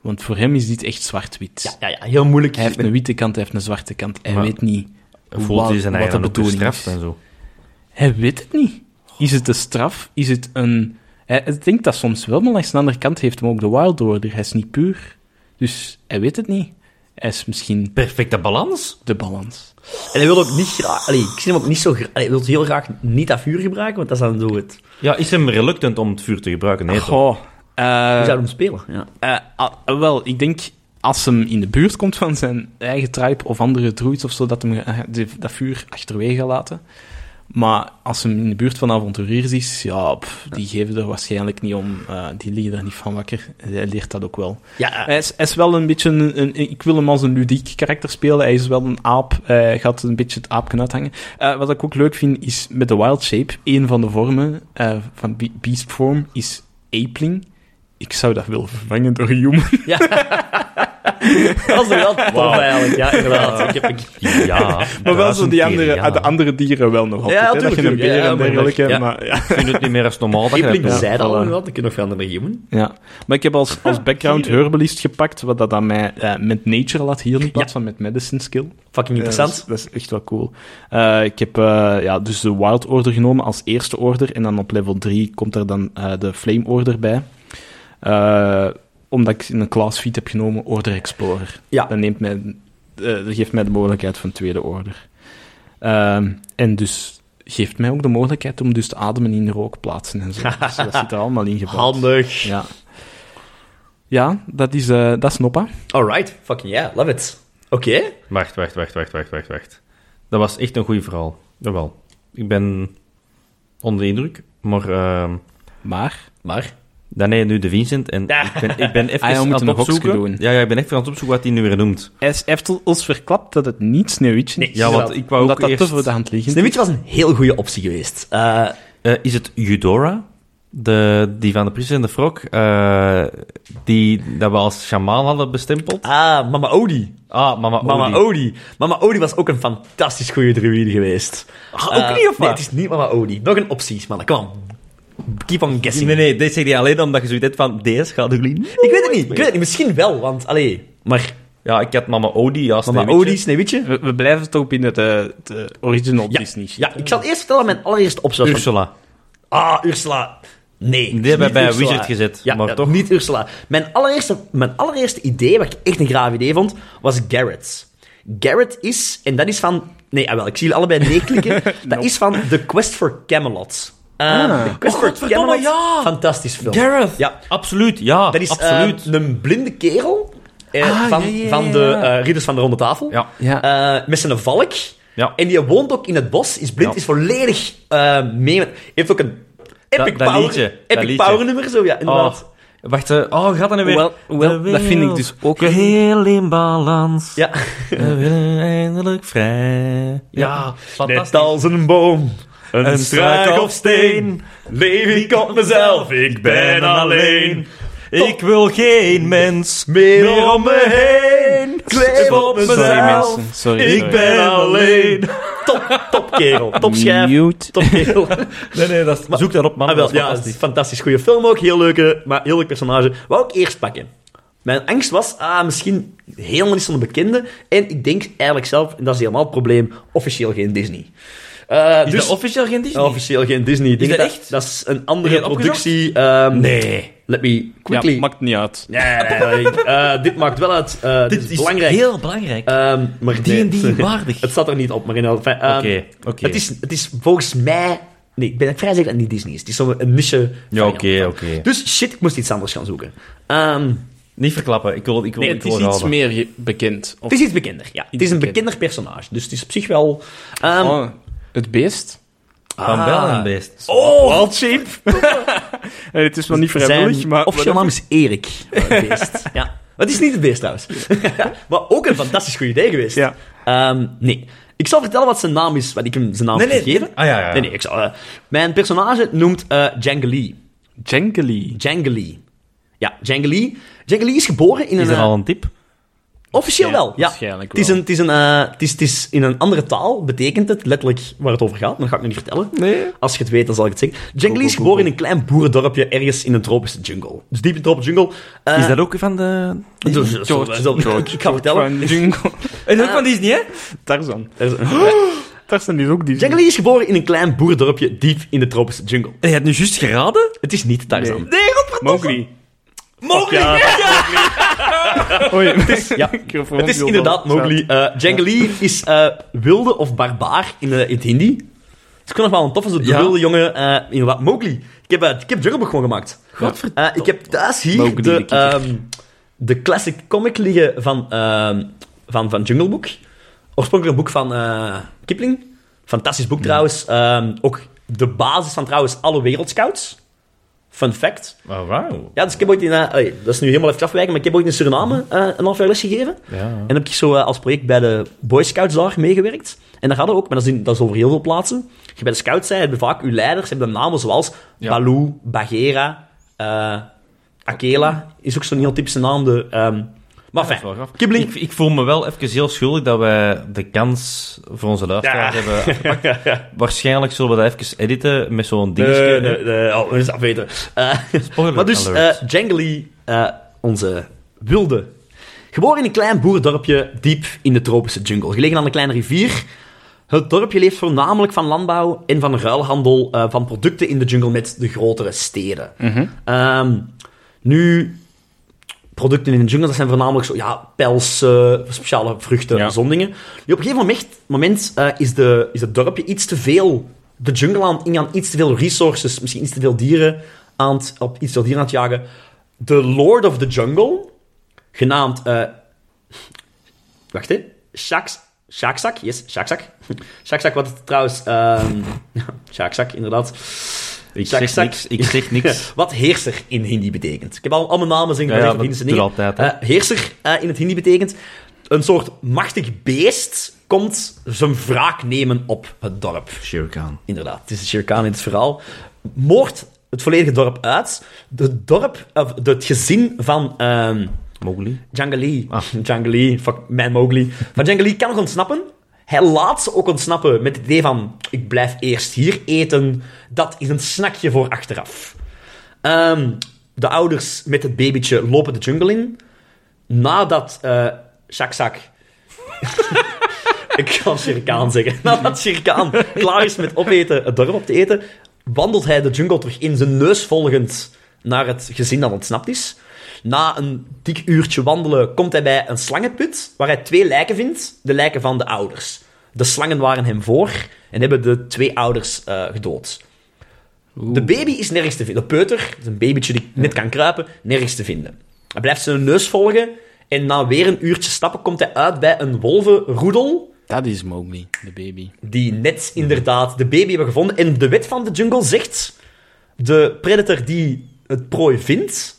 Speaker 3: Want voor hem is dit echt zwart-wit.
Speaker 2: ja, ja, ja, heel moeilijk.
Speaker 3: Hij heeft een witte kant, hij heeft een zwarte kant. Hij
Speaker 1: Maar
Speaker 3: weet niet.
Speaker 1: Voelt hij zijn
Speaker 3: wat
Speaker 1: eigen
Speaker 3: de
Speaker 1: ook
Speaker 3: bedoeling
Speaker 1: gestraft
Speaker 3: is.
Speaker 1: en zo?
Speaker 3: Hij weet het niet. Is het een straf? Is het een... Hij hij denkt dat soms wel, maar langs de andere kant heeft hem ook de Wild Order. Hij is niet puur. Dus hij weet het niet. Hij is misschien
Speaker 1: Perfecte balans?
Speaker 3: de balans.
Speaker 2: En hij wil ook niet graag... Allee, ik zie hem ook niet zo graag... Hij wil heel graag niet dat vuur gebruiken, want dat is dan zo het... Je
Speaker 1: Ja, is hem reluctant om het vuur te gebruiken? Nee, toch?
Speaker 3: Goh. eh,
Speaker 2: zou hem spelen, ja.
Speaker 3: eh, ah, eh, wel, ik denk als hem in de buurt komt van zijn eigen tribe of andere druids of zo, dat hem eh, de- dat vuur achterwege gaat laten. Maar als hem in de buurt van avonturiers is, ja, pff, die geven er waarschijnlijk niet om. Eh, die liggen er niet van wakker. Hij leert dat ook wel.
Speaker 2: Ja,
Speaker 3: Hij is, hij is wel een beetje een, een- Ik wil hem als een ludiek karakter spelen. Hij is wel een aap. eh, Hij gaat een beetje het aapken uithangen. Eh, wat ik ook leuk vind, is met de Wild Shape, een van de vormen eh, van be- Beast Form is Apeling. Ik zou dat willen vervangen door Human.
Speaker 2: [LAUGHS] dat is wel tof eigenlijk. Ja, inderdaad. Ik heb een...
Speaker 1: Ja.
Speaker 3: Maar wel zo
Speaker 1: duizend
Speaker 3: die
Speaker 1: keer,
Speaker 3: andere,
Speaker 1: ja.
Speaker 3: de andere dieren wel nog altijd.
Speaker 2: Ja,
Speaker 3: hè, dat
Speaker 2: tuurlijk,
Speaker 3: je een beer
Speaker 2: tuurlijk, ja,
Speaker 3: en
Speaker 2: ja,
Speaker 3: dergelijke.
Speaker 2: ja.
Speaker 3: Maar, ja.
Speaker 1: Ik vind het niet meer als normaal dat je dat
Speaker 2: Epeling
Speaker 1: doet.
Speaker 2: zei het al
Speaker 3: voilà.
Speaker 2: inderdaad, ik kan nog veel naar de human.
Speaker 3: Ja. maar ik heb als,
Speaker 2: [LAUGHS]
Speaker 3: als background herbalist gepakt, wat dat aan mij eh, met nature laat hier in plaats van met medicine skill.
Speaker 2: Fucking
Speaker 3: Ja,
Speaker 2: interessant.
Speaker 3: dat, is, dat is echt wel cool. Eh, ik heb eh, ja, dus de Wild Order genomen als eerste order. En dan op level 3 komt er dan eh, de Flame Order bij. Eh, omdat ik in een class feat heb genomen, Order Explorer.
Speaker 2: Ja.
Speaker 3: Dat, neemt mij, eh, dat geeft mij de mogelijkheid van tweede order. Ehm, en dus geeft mij ook de mogelijkheid om dus te ademen in rookplaatsen en zo. dus dat zit er allemaal in gebouwd.
Speaker 2: [LAUGHS] Handig.
Speaker 3: Ja. Ja, dat is, eh dat is Noppa.
Speaker 2: Alright, fucking yeah, love it. Oké.
Speaker 1: Wacht, wacht, wacht, wacht, wacht, wacht, wacht. Dat was echt een goed verhaal. Jawel. Ik ben onder de indruk, maar... ehm,
Speaker 3: Maar,
Speaker 2: Maar,
Speaker 1: dan nee, nu de Vincent. En ik ben, ik
Speaker 3: [LAUGHS]
Speaker 1: ben even
Speaker 3: Ah, ja, we
Speaker 1: aan
Speaker 3: moeten
Speaker 1: het
Speaker 3: nog hokjes
Speaker 1: opzoeken.
Speaker 3: doen.
Speaker 1: Ja, ja, ik ben even aan het opzoeken wat hij nu weer noemt.
Speaker 3: hij is- heeft ons verklapt dat het niet Sneeuwwitje
Speaker 2: Nee,
Speaker 3: is.
Speaker 1: Ja, want ik wou
Speaker 3: Omdat
Speaker 1: ook
Speaker 3: dat
Speaker 1: eerst...
Speaker 3: te voor de hand liggend
Speaker 2: Sneeuwwitje was een heel goede optie geweest. Eh,
Speaker 1: Eh, is het Eudora? De, die van de Prinses en de Frog, eh, die dat we als shamaan hadden bestempeld.
Speaker 2: ah, Mama Odie.
Speaker 1: Ah, Mama,
Speaker 2: Mama
Speaker 1: Odie.
Speaker 2: Odie. Mama Odie was ook een fantastisch goede druïde geweest.
Speaker 1: Ah, ook
Speaker 2: Eh,
Speaker 1: niet, of wat?
Speaker 2: Nee, het is niet Mama Odie. Nog een optie, mannen. Kom on. Keep on guessing.
Speaker 1: Nee, nee, dit zeg je alleen omdat je zoiets hebt van... Deze gaat er niet
Speaker 2: Ik weet het niet. Ik weet het niet. Misschien wel, want... Allee. Maar
Speaker 1: Ja, ik had Mama Odie als
Speaker 2: Mama
Speaker 1: Sneeuwwitje.
Speaker 2: Odie, Sneeuwwitje...
Speaker 3: We, we blijven toch binnen de, de original
Speaker 2: Ja,
Speaker 3: Disney.
Speaker 2: ja, ik zal eerst vertellen mijn allereerste opzet.
Speaker 1: Ursula.
Speaker 2: Ah, Ursula. Nee.
Speaker 1: Die hebben
Speaker 2: niet
Speaker 1: bij
Speaker 2: Ursula.
Speaker 1: Wizard gezet,
Speaker 2: Ja,
Speaker 1: maar
Speaker 2: ja,
Speaker 1: toch.
Speaker 2: Niet Ursula. Mijn allereerste, mijn allereerste idee, wat ik echt een graaf idee vond, was Garrett. Garrett is, en dat is van. Nee, ah, wel, ik zie jullie allebei nee klikken.
Speaker 1: [LAUGHS]
Speaker 2: Dat is van The Quest for Camelot. Eh, The Quest
Speaker 1: Oh,
Speaker 2: for
Speaker 1: godverdomme,
Speaker 2: Camelot.
Speaker 1: ja.
Speaker 2: Fantastisch film.
Speaker 1: Gareth!
Speaker 2: Ja.
Speaker 1: Absoluut, ja.
Speaker 2: Dat is
Speaker 1: absoluut.
Speaker 2: eh, een blinde kerel eh,
Speaker 3: Ah,
Speaker 2: van,
Speaker 3: ja, ja, ja,
Speaker 2: van de
Speaker 3: ja.
Speaker 2: eh, Ridders van de Ronde Tafel.
Speaker 1: Ja.
Speaker 3: Ja.
Speaker 2: Eh, met zijn valk.
Speaker 1: Ja.
Speaker 2: En die woont ook in het bos, is blind,
Speaker 1: Ja.
Speaker 2: is volledig eh mee. met- Heeft ook een epic,
Speaker 1: dat
Speaker 2: power,
Speaker 1: liedje, dat
Speaker 2: epic
Speaker 1: liedje.
Speaker 2: power nummer, zo ja,
Speaker 1: Oh,
Speaker 2: inderdaad.
Speaker 1: wacht, eh, oh, gaat dan weer.
Speaker 3: Wel- wel,
Speaker 1: De
Speaker 3: dat vind ik
Speaker 1: wereld
Speaker 3: dus ook een-
Speaker 1: Geheel in balans.
Speaker 2: Ja.
Speaker 1: We willen eindelijk vrij. Ja,
Speaker 2: Net als een boom, een,
Speaker 1: Een
Speaker 2: struik
Speaker 1: struik
Speaker 2: of steen, leef ik op mezelf, ik ben alleen.
Speaker 1: Ik wil geen mens
Speaker 2: Meer
Speaker 1: meer om me heen.
Speaker 2: Kleef op
Speaker 1: op
Speaker 3: Sorry
Speaker 2: mezelf.
Speaker 1: mezelf.
Speaker 3: mensen, sorry.
Speaker 1: Ik
Speaker 3: sorry.
Speaker 1: ben alleen.
Speaker 2: Top, top kerel,
Speaker 3: [LAUGHS]
Speaker 2: top schijf,
Speaker 3: Mute.
Speaker 2: top [LAUGHS] kerel.
Speaker 1: Nee, nee, dat is, zoek dat op, man.
Speaker 2: Ah,
Speaker 1: dat
Speaker 2: wel,
Speaker 1: is
Speaker 2: ja, het
Speaker 1: fantastisch.
Speaker 2: is een fantastisch goede film ook, heel leuke, maar heel leuk personage. Wou ik eerst pakken. Mijn angst was, ah, misschien helemaal niet zo'n bekende. En ik denk eigenlijk zelf, en dat is helemaal het probleem, officieel geen Disney. Eh,
Speaker 1: Is
Speaker 2: dus,
Speaker 1: dat officieel geen Disney?
Speaker 2: officieel geen Disney. Ik denk
Speaker 1: dat echt?
Speaker 2: Dat is een andere
Speaker 1: Heb je dat
Speaker 2: productie. ehm,
Speaker 1: Nee.
Speaker 2: Let me quickly...
Speaker 3: Ja, maakt niet uit.
Speaker 2: Nee, nee, nee, [LAUGHS] nee. Eh, dit maakt wel uit. Eh, dit, is belangrijk.
Speaker 1: heel belangrijk.
Speaker 2: Ehm, maar nee, [LAUGHS]
Speaker 1: D&D waardig.
Speaker 2: Het staat er niet op, maar in elk geval, ehm,
Speaker 1: Oké, oké.
Speaker 2: Het, is, het is volgens mij Nee, ik ben vrij zeker dat het niet Disney is. Het is zo'n een niche...
Speaker 1: Ja,
Speaker 2: final.
Speaker 1: oké, oké.
Speaker 2: Dus shit, ik moest iets anders gaan zoeken. Ehm,
Speaker 1: Niet verklappen, ik wil ik wil
Speaker 2: Nee,
Speaker 1: ik
Speaker 3: Het
Speaker 1: wil
Speaker 3: is iets
Speaker 1: raden.
Speaker 3: meer ge- bekend. Of-
Speaker 2: het is iets bekender, ja. Het is een bekender personage, dus het is op zich wel... ehm, ah.
Speaker 3: Oh, het beest?
Speaker 1: Van wel een beest.
Speaker 2: oh, cheap!
Speaker 3: het is wel niet
Speaker 2: Zijn officieel naam is Erik.
Speaker 1: [LAUGHS]
Speaker 2: eh, Beest. ja. Het is niet het beest trouwens. maar ook een fantastisch goed idee geweest.
Speaker 3: Ja.
Speaker 2: Ehm, nee. Ik zal vertellen wat zijn naam is, wat ik hem zijn naam
Speaker 1: Nee,
Speaker 2: heb
Speaker 1: nee.
Speaker 2: gegeven.
Speaker 1: Ah, ja, ja, ja.
Speaker 2: Nee, nee, ik zal, eh, mijn personage noemt eh Django Lee.
Speaker 3: Jangly.
Speaker 2: Django Lee. Ja, Django Lee. Django Lee is geboren in
Speaker 1: Is
Speaker 2: een...
Speaker 1: er
Speaker 2: eh,
Speaker 1: al een tip?
Speaker 2: Officieel wel, ja.
Speaker 3: waarschijnlijk
Speaker 2: Het is,
Speaker 3: wel.
Speaker 2: een, het, is een, eh, het, is, het is in een andere taal, betekent het letterlijk waar het over gaat, maar dat ga ik nu niet vertellen.
Speaker 3: Nee.
Speaker 2: Als je het weet, dan zal ik het zeggen. Django Lee is
Speaker 3: go,
Speaker 2: geboren in een klein boerendorpje ergens in een tropische jungle. Dus diep in de tropische jungle. eh,
Speaker 1: Is dat ook van de...
Speaker 2: dus- dus- dus-
Speaker 3: George,
Speaker 2: dus- [LAUGHS] ik ga vertellen.
Speaker 3: Van Jungle. [LAUGHS]
Speaker 1: Is ook van Disney, hè?
Speaker 3: Tarzan.
Speaker 2: Er is een-
Speaker 3: Tarzan is ook die.
Speaker 2: Django Lee is geboren in een klein boerendorpje diep in de tropische jungle.
Speaker 1: Je hebt nu juist geraden?
Speaker 2: Het is niet Tarzan.
Speaker 3: Nee.
Speaker 1: Nee, godverdomme.
Speaker 3: Mowgli.
Speaker 1: Mowgli.
Speaker 3: Ja, Mowgli. Oei, het [LAUGHS] is...
Speaker 2: Ja,
Speaker 3: Ik wil
Speaker 2: Het is
Speaker 3: Mowgli
Speaker 2: inderdaad
Speaker 3: wel-
Speaker 2: Mowgli. Eh Django Lee is eh, wilde of barbaar in, eh, in het Hindi. Het is gewoon nog wel een toffe, zo de
Speaker 1: Ja.
Speaker 2: wilde jongen. eh inderdaad, Mowgli. Ik heb, eh, ik heb Jungle Book gewoon gemaakt.
Speaker 1: Godverdomme.
Speaker 2: Eh, ik heb thuis hier
Speaker 3: Mowgli de
Speaker 2: de,
Speaker 3: kikker.
Speaker 2: ehm, de classic comic liggen van, ehm, van, van Jungle Book. Oorspronkelijk een boek van eh, Kipling. Fantastisch boek trouwens. Ehm, ook de basis van trouwens alle wereldscouts. Fun fact.
Speaker 1: Oh, wauw.
Speaker 2: Ja, dus ik heb ooit in... eh, oei, dat is nu helemaal even afwijken, maar ik heb ooit in Suriname eh, een half jaar les gegeven.
Speaker 1: Ja.
Speaker 2: En heb ik zo eh, als project bij de Boy Scouts daar meegewerkt. En daar hadden we ook, maar dat is, in- dat is over heel veel plaatsen. Je bij de scouts zijn, hebben vaak uw leiders, hebben dan namen zoals
Speaker 1: Ja.
Speaker 2: Baloo, Bagheera, eh, Akela. Is ook zo'n heel typische naam. De, ehm, maar
Speaker 1: Dat is wel
Speaker 2: fijn,
Speaker 1: grappig.
Speaker 2: Kibbeling.
Speaker 1: Ik, ik voel me wel even heel schuldig dat wij de kans voor onze luisteraars
Speaker 2: Ja.
Speaker 1: hebben afgepakt. Waarschijnlijk zullen we dat even editen met zo'n
Speaker 2: Nee,
Speaker 1: dingetje.
Speaker 2: nee, nee, oh, dat is afweten. Eh,
Speaker 1: Spoiler
Speaker 2: maar dus, eh
Speaker 1: alert.
Speaker 2: Django Lee, eh, onze wilde. Geboren in een klein boerdorpje diep in de tropische jungle, gelegen aan een kleine rivier. Het dorpje leeft voornamelijk van landbouw en van ruilhandel eh, van producten in de jungle met de grotere steden. Ehm, nu, producten in de jungle, dat zijn voornamelijk zo, ja, pelsen, speciale vruchten,
Speaker 3: Ja.
Speaker 2: zo'n dingen. Nu, op een gegeven moment, moment eh, is, de, is het dorpje iets te veel de jungle aan het ingaan, iets te veel resources, misschien iets te veel dieren aan het, op iets te veel dieren aan het jagen. De Lord of the Jungle, genaamd... eh, wacht, hè. Shaks, Shaksak, yes, Shaksak. [LAUGHS] Shaksak, wat het trouwens... ehm [LAUGHS] Shaksak, inderdaad.
Speaker 1: ik
Speaker 2: zak,
Speaker 1: zeg
Speaker 2: zak.
Speaker 1: niks, ik zeg niks.
Speaker 2: Wat heerser in Hindi betekent. Ik heb al, al mijn namen zingen
Speaker 1: Ja,
Speaker 2: ja,
Speaker 1: ja,
Speaker 2: op
Speaker 1: dat
Speaker 2: Indische
Speaker 1: doe
Speaker 2: dingen.
Speaker 1: je altijd, hè.
Speaker 2: Eh, heerser eh, in het Hindi betekent een soort machtig beest komt zijn wraak nemen op het dorp.
Speaker 1: Shere Khan.
Speaker 2: Inderdaad, het is de Shere Khan in het verhaal. Moordt het volledige dorp uit. Het dorp, of het gezin van... ehm,
Speaker 1: Mowgli.
Speaker 2: Django Lee.
Speaker 1: Ah.
Speaker 2: Django Lee, fuck, man Mowgli. Maar Django Lee kan nog ontsnappen. Hij laat ze ook ontsnappen met het idee van... Ik blijf eerst hier eten. Dat is een snackje voor achteraf. Ehm, de ouders met het babytje lopen de jungle in. Nadat eh Shaksak... Ik kan Shirkaan [LAUGHS] zeggen. Nadat Shirkaan klaar is met opeten, het dorp op te eten, wandelt hij de jungle terug in, zijn neus volgend naar het gezin dat ontsnapt is. Na een dik uurtje wandelen komt hij bij een slangenput, waar hij twee lijken vindt, de lijken van de ouders. De slangen waren hem voor en hebben de twee ouders eh, gedood. De baby is nergens te vinden. De peuter, dat is een babytje die net kan kruipen, nergens te vinden. Hij blijft zijn neus volgen en na weer een uurtje stappen komt hij uit bij een wolvenroedel
Speaker 3: Dat is Mowgli, de baby.
Speaker 2: die net inderdaad de baby hebben gevonden. En de wet van de jungle zegt: de predator die het prooi vindt,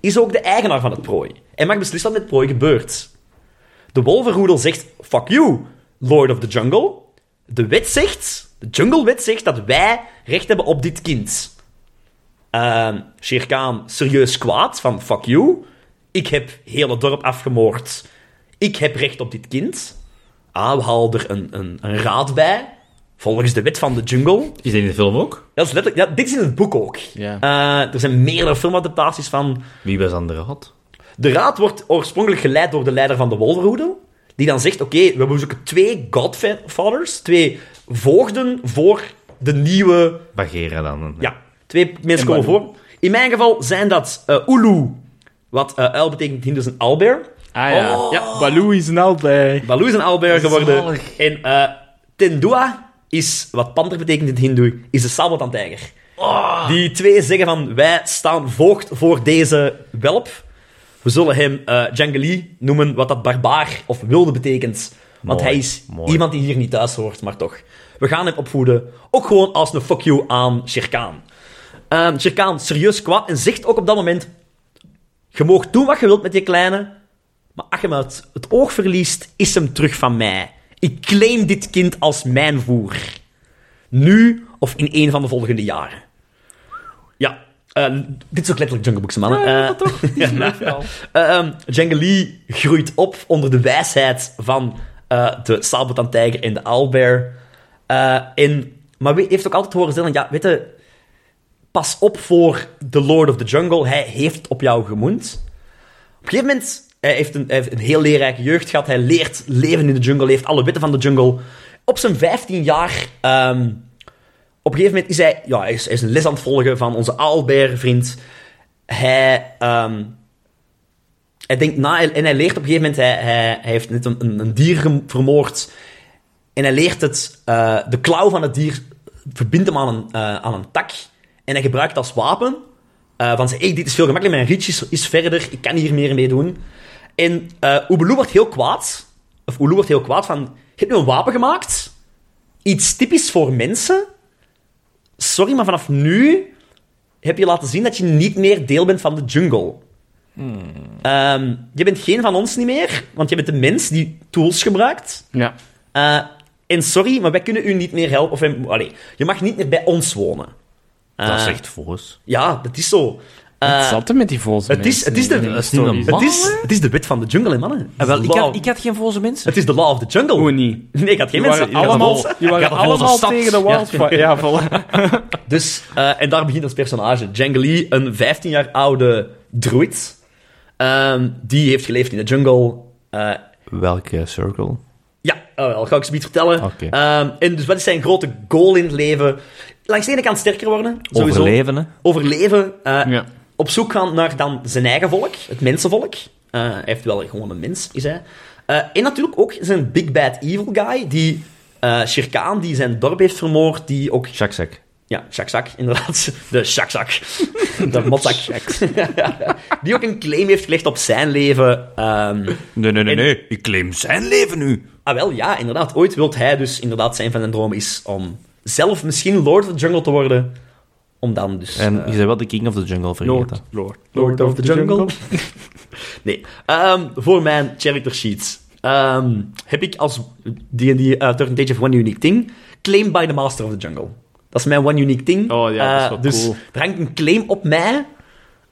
Speaker 2: is ook de eigenaar van het prooi. En mag beslissen wat met het prooi gebeurt. De wolvenroedel zegt: fuck you, Lord of the Jungle. De wet zegt, de junglewet zegt dat wij recht hebben op dit kind. Ehm Shere Khan serieus kwaad van fuck you. Ik heb heel het dorp afgemoord. Ik heb recht op dit kind. Ah, we halen er een, een, een raad bij. Volgens de wet van de jungle.
Speaker 1: Is dat in de film ook?
Speaker 2: Dat is letterlijk, ja, dit is in het boek ook.
Speaker 3: Ja.
Speaker 2: Eh, er zijn meerdere filmadaptaties van.
Speaker 1: Wie was aan de raad?
Speaker 2: De raad wordt oorspronkelijk geleid door de leider van de Wolverhoedel. Die dan zegt: Oké, we bezoeken twee Godfathers, twee voogden voor de nieuwe.
Speaker 1: Bagheera dan.
Speaker 2: Ja, twee mensen komen
Speaker 3: Baloo.
Speaker 2: voor. In mijn geval zijn dat eh Ulu, wat eh uil betekent in dus een aalbeer.
Speaker 3: Ah ja.
Speaker 2: Oh.
Speaker 3: ja. Baloo is nou bij.
Speaker 2: Baloo is een aalbeer geworden. En eh Tendua is, wat panter betekent in het Hindoe, is de sabeltandtijger. Die twee zeggen van, wij staan voogd voor deze welp. We zullen hem eh Jangali noemen, wat dat barbaar of wilde betekent. Want
Speaker 1: Mooi,
Speaker 2: hij is
Speaker 1: mooi.
Speaker 2: iemand die hier niet thuis hoort, maar toch. We gaan hem opvoeden, ook gewoon als een fuck you aan Sherkaan. Ehm Sherkaan, serieus kwaad, en zegt ook op dat moment... Je mag doen wat je wilt met je kleine, maar als je hem uit het oog verliest, is hem terug van mij. Ik claim dit kind als mijn voer. Nu of in een van de volgende jaren. Ja, eh, dit is ook letterlijk Jungle Books, mannen. Eh, [LAUGHS]
Speaker 3: toch?
Speaker 2: Ehm Django Lee groeit op onder de wijsheid van eh, de sabeltandtijger en de owlbear. Eh, en, maar wie heeft ook altijd horen zeggen, ja, weet je, pas op voor de Lord of the Jungle. Hij heeft op jou gemoend. Op een gegeven moment, hij heeft een, hij heeft een heel leerrijke jeugd gehad. Hij leert leven in de jungle, leert alle wetten van de jungle. Op zijn 15 jaar, ehm, op een gegeven moment is hij, ja, hij is, hij is een les aan het volgen van onze owlbear-vriend. Hij... ehm, hij denkt na en hij leert op een gegeven moment, hij, hij, hij heeft net een, een, een dier gem- vermoord. En hij leert het, eh, de klauw van het dier verbindt hem aan een, eh, aan een tak. En hij gebruikt het als wapen. eh van hey, dit is veel gemakkelijker, mijn reach is, is verder, ik kan hier meer mee doen. En eh Oebeloe wordt heel kwaad. Of Oeloe wordt heel kwaad van, je hebt nu een wapen gemaakt. Iets typisch voor mensen. Sorry, maar vanaf nu heb je laten zien dat je niet meer deel bent van de jungle. Ehm, je bent geen van ons niet meer, want je bent de mens die tools gebruikt.
Speaker 3: Ja.
Speaker 2: Eh, en sorry, maar wij kunnen u niet meer helpen. Of, wij- allee, je mag niet meer bij ons wonen.
Speaker 1: dat is
Speaker 2: Eh,
Speaker 1: echt fors.
Speaker 2: Ja, dat is zo. Eh,
Speaker 3: Wat zat er met die volzen
Speaker 2: het is- het is de-
Speaker 3: mensen in
Speaker 1: het is niet
Speaker 3: stories?
Speaker 1: normaal.
Speaker 2: het, is, het is de wet van de jungle, hè, mannen.
Speaker 1: Ah, wel, ik,
Speaker 2: Law-
Speaker 1: had, ik had geen volse mensen.
Speaker 2: Het is de law of the jungle.
Speaker 3: Hoe niet?
Speaker 2: Nee, ik had geen
Speaker 3: Die
Speaker 2: mensen.
Speaker 3: waren
Speaker 2: ik had
Speaker 3: allemaal,
Speaker 2: een bol.
Speaker 3: die waren
Speaker 2: Ik had een bol
Speaker 3: allemaal
Speaker 2: van stad.
Speaker 3: tegen de wildfire. Ja, voilà.
Speaker 2: Dus, eh, en daar begint ons personage. Jangali, een 15 jaar oude druid. Ehm, die heeft geleefd in de jungle. eh,
Speaker 1: Welke circle?
Speaker 2: Ja, oh, wel, ga ik ze niet vertellen.
Speaker 1: Oké.
Speaker 2: Ehm, en dus wat is zijn grote goal in het leven? Langs de ene kant sterker worden, sowieso.
Speaker 1: Overleven, hè?
Speaker 2: Overleven, eh,
Speaker 3: Ja.
Speaker 2: Op zoek gaan naar dan zijn eigen volk, het mensenvolk. Eh, hij heeft wel gewoon een mens, is hij. Eh, en natuurlijk ook zijn big bad evil guy, die eh Shirkaan, die zijn dorp heeft vermoord, die ook
Speaker 1: Shakzak.
Speaker 2: ja, Shakzak, inderdaad. [LAUGHS] De Shakzak. De motzak. [LAUGHS] die ook een claim heeft gelegd op zijn leven. ehm,
Speaker 1: Nee, nee, nee,
Speaker 2: En-
Speaker 1: nee. Ik claim zijn leven nu.
Speaker 2: Ah wel, ja, inderdaad. Ooit wilt hij dus inderdaad zijn van zijn droom is om zelf misschien Lord of the Jungle te worden. Om dan dus...
Speaker 1: En
Speaker 2: eh,
Speaker 1: je zei wel de King of the Jungle vergeten.
Speaker 3: Lord.
Speaker 2: [LAUGHS] Lord of the Jungle. [LAUGHS] nee. Ehm, voor mijn character sheets ehm, heb ik als D&D eh Turn of One Unique Thing claim by the Master of the Jungle. Dat is mijn One Unique Thing.
Speaker 3: Oh ja, dat is
Speaker 2: Eh,
Speaker 3: wel
Speaker 2: dus
Speaker 3: cool.
Speaker 2: er hangt een claim op mij.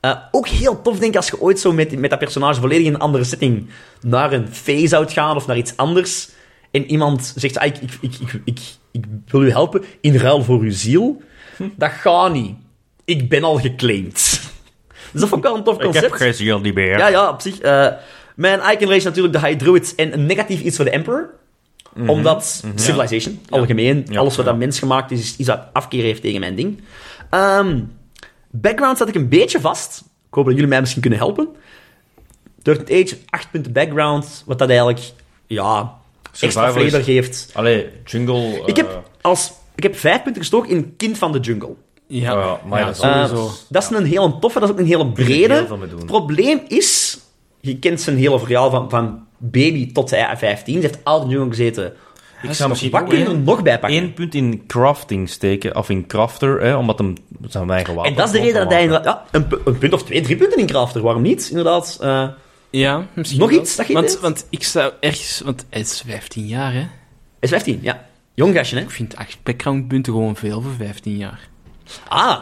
Speaker 2: Eh, ook heel tof, denk ik, als je ooit zo met, met dat personage volledig in een andere setting naar een phase zou gaan of naar iets anders. En iemand zegt, ah, ik, ik, ik, ik, ik, ik wil u helpen in ruil voor uw ziel.
Speaker 1: Hm.
Speaker 2: Dat gaat niet. Ik ben al geclaimd. [LAUGHS] Dus dat vond ik wel een tof
Speaker 1: Ik
Speaker 2: concept.
Speaker 1: heb geen ziel niet meer.
Speaker 2: Ja, ja, op zich. eh, mijn icon race natuurlijk de High Druids en een negatief iets voor de Emperor. Omdat civilization, algemeen,
Speaker 1: Mhm. Ja.
Speaker 2: alles wat dat mens gemaakt is, is iets wat afkeer heeft tegen mijn ding. Ehm, background zat ik een beetje vast. Ik hoop dat jullie mij misschien kunnen helpen. Dirt Age, 8 punten background, wat dat eigenlijk, ja, extra
Speaker 1: Survival is-
Speaker 2: flavor geeft.
Speaker 1: Allee, jungle... eh,
Speaker 2: Ik heb, als, ik heb 5 punten gestoken in Kind van de Jungle.
Speaker 3: Ja,
Speaker 1: Ja, maar dat is
Speaker 2: Eh,
Speaker 3: sowieso.
Speaker 2: dat is een hele toffe, dat is ook een hele brede.
Speaker 1: heel veel mee doen.
Speaker 2: Het probleem is, je kent zijn hele verhaal van, van baby tot hij 15. Ze heeft altijd jong gezeten.
Speaker 1: Ik zou misschien
Speaker 2: Wat kun je er nog bij pakken?
Speaker 1: één punt in crafting steken, of in crafter, hè, omdat hem zijn eigen wapen...
Speaker 2: en dat is de
Speaker 1: kon
Speaker 2: reden dat hij
Speaker 1: maken.
Speaker 2: inderdaad... Ja, een, pu- een punt of twee, drie punten in Crafter. Waarom niet, inderdaad? Eh,
Speaker 3: ja, misschien
Speaker 2: Nog
Speaker 3: wel.
Speaker 2: iets dat je
Speaker 3: want,
Speaker 2: deed?
Speaker 3: want ik zou ergens... Want hij is 15 jaar, hè.
Speaker 2: hij is 15, ja. Jong gastje, hè?
Speaker 3: Ik vind 8 backgroundpunten gewoon veel voor 15 jaar.
Speaker 2: Ah,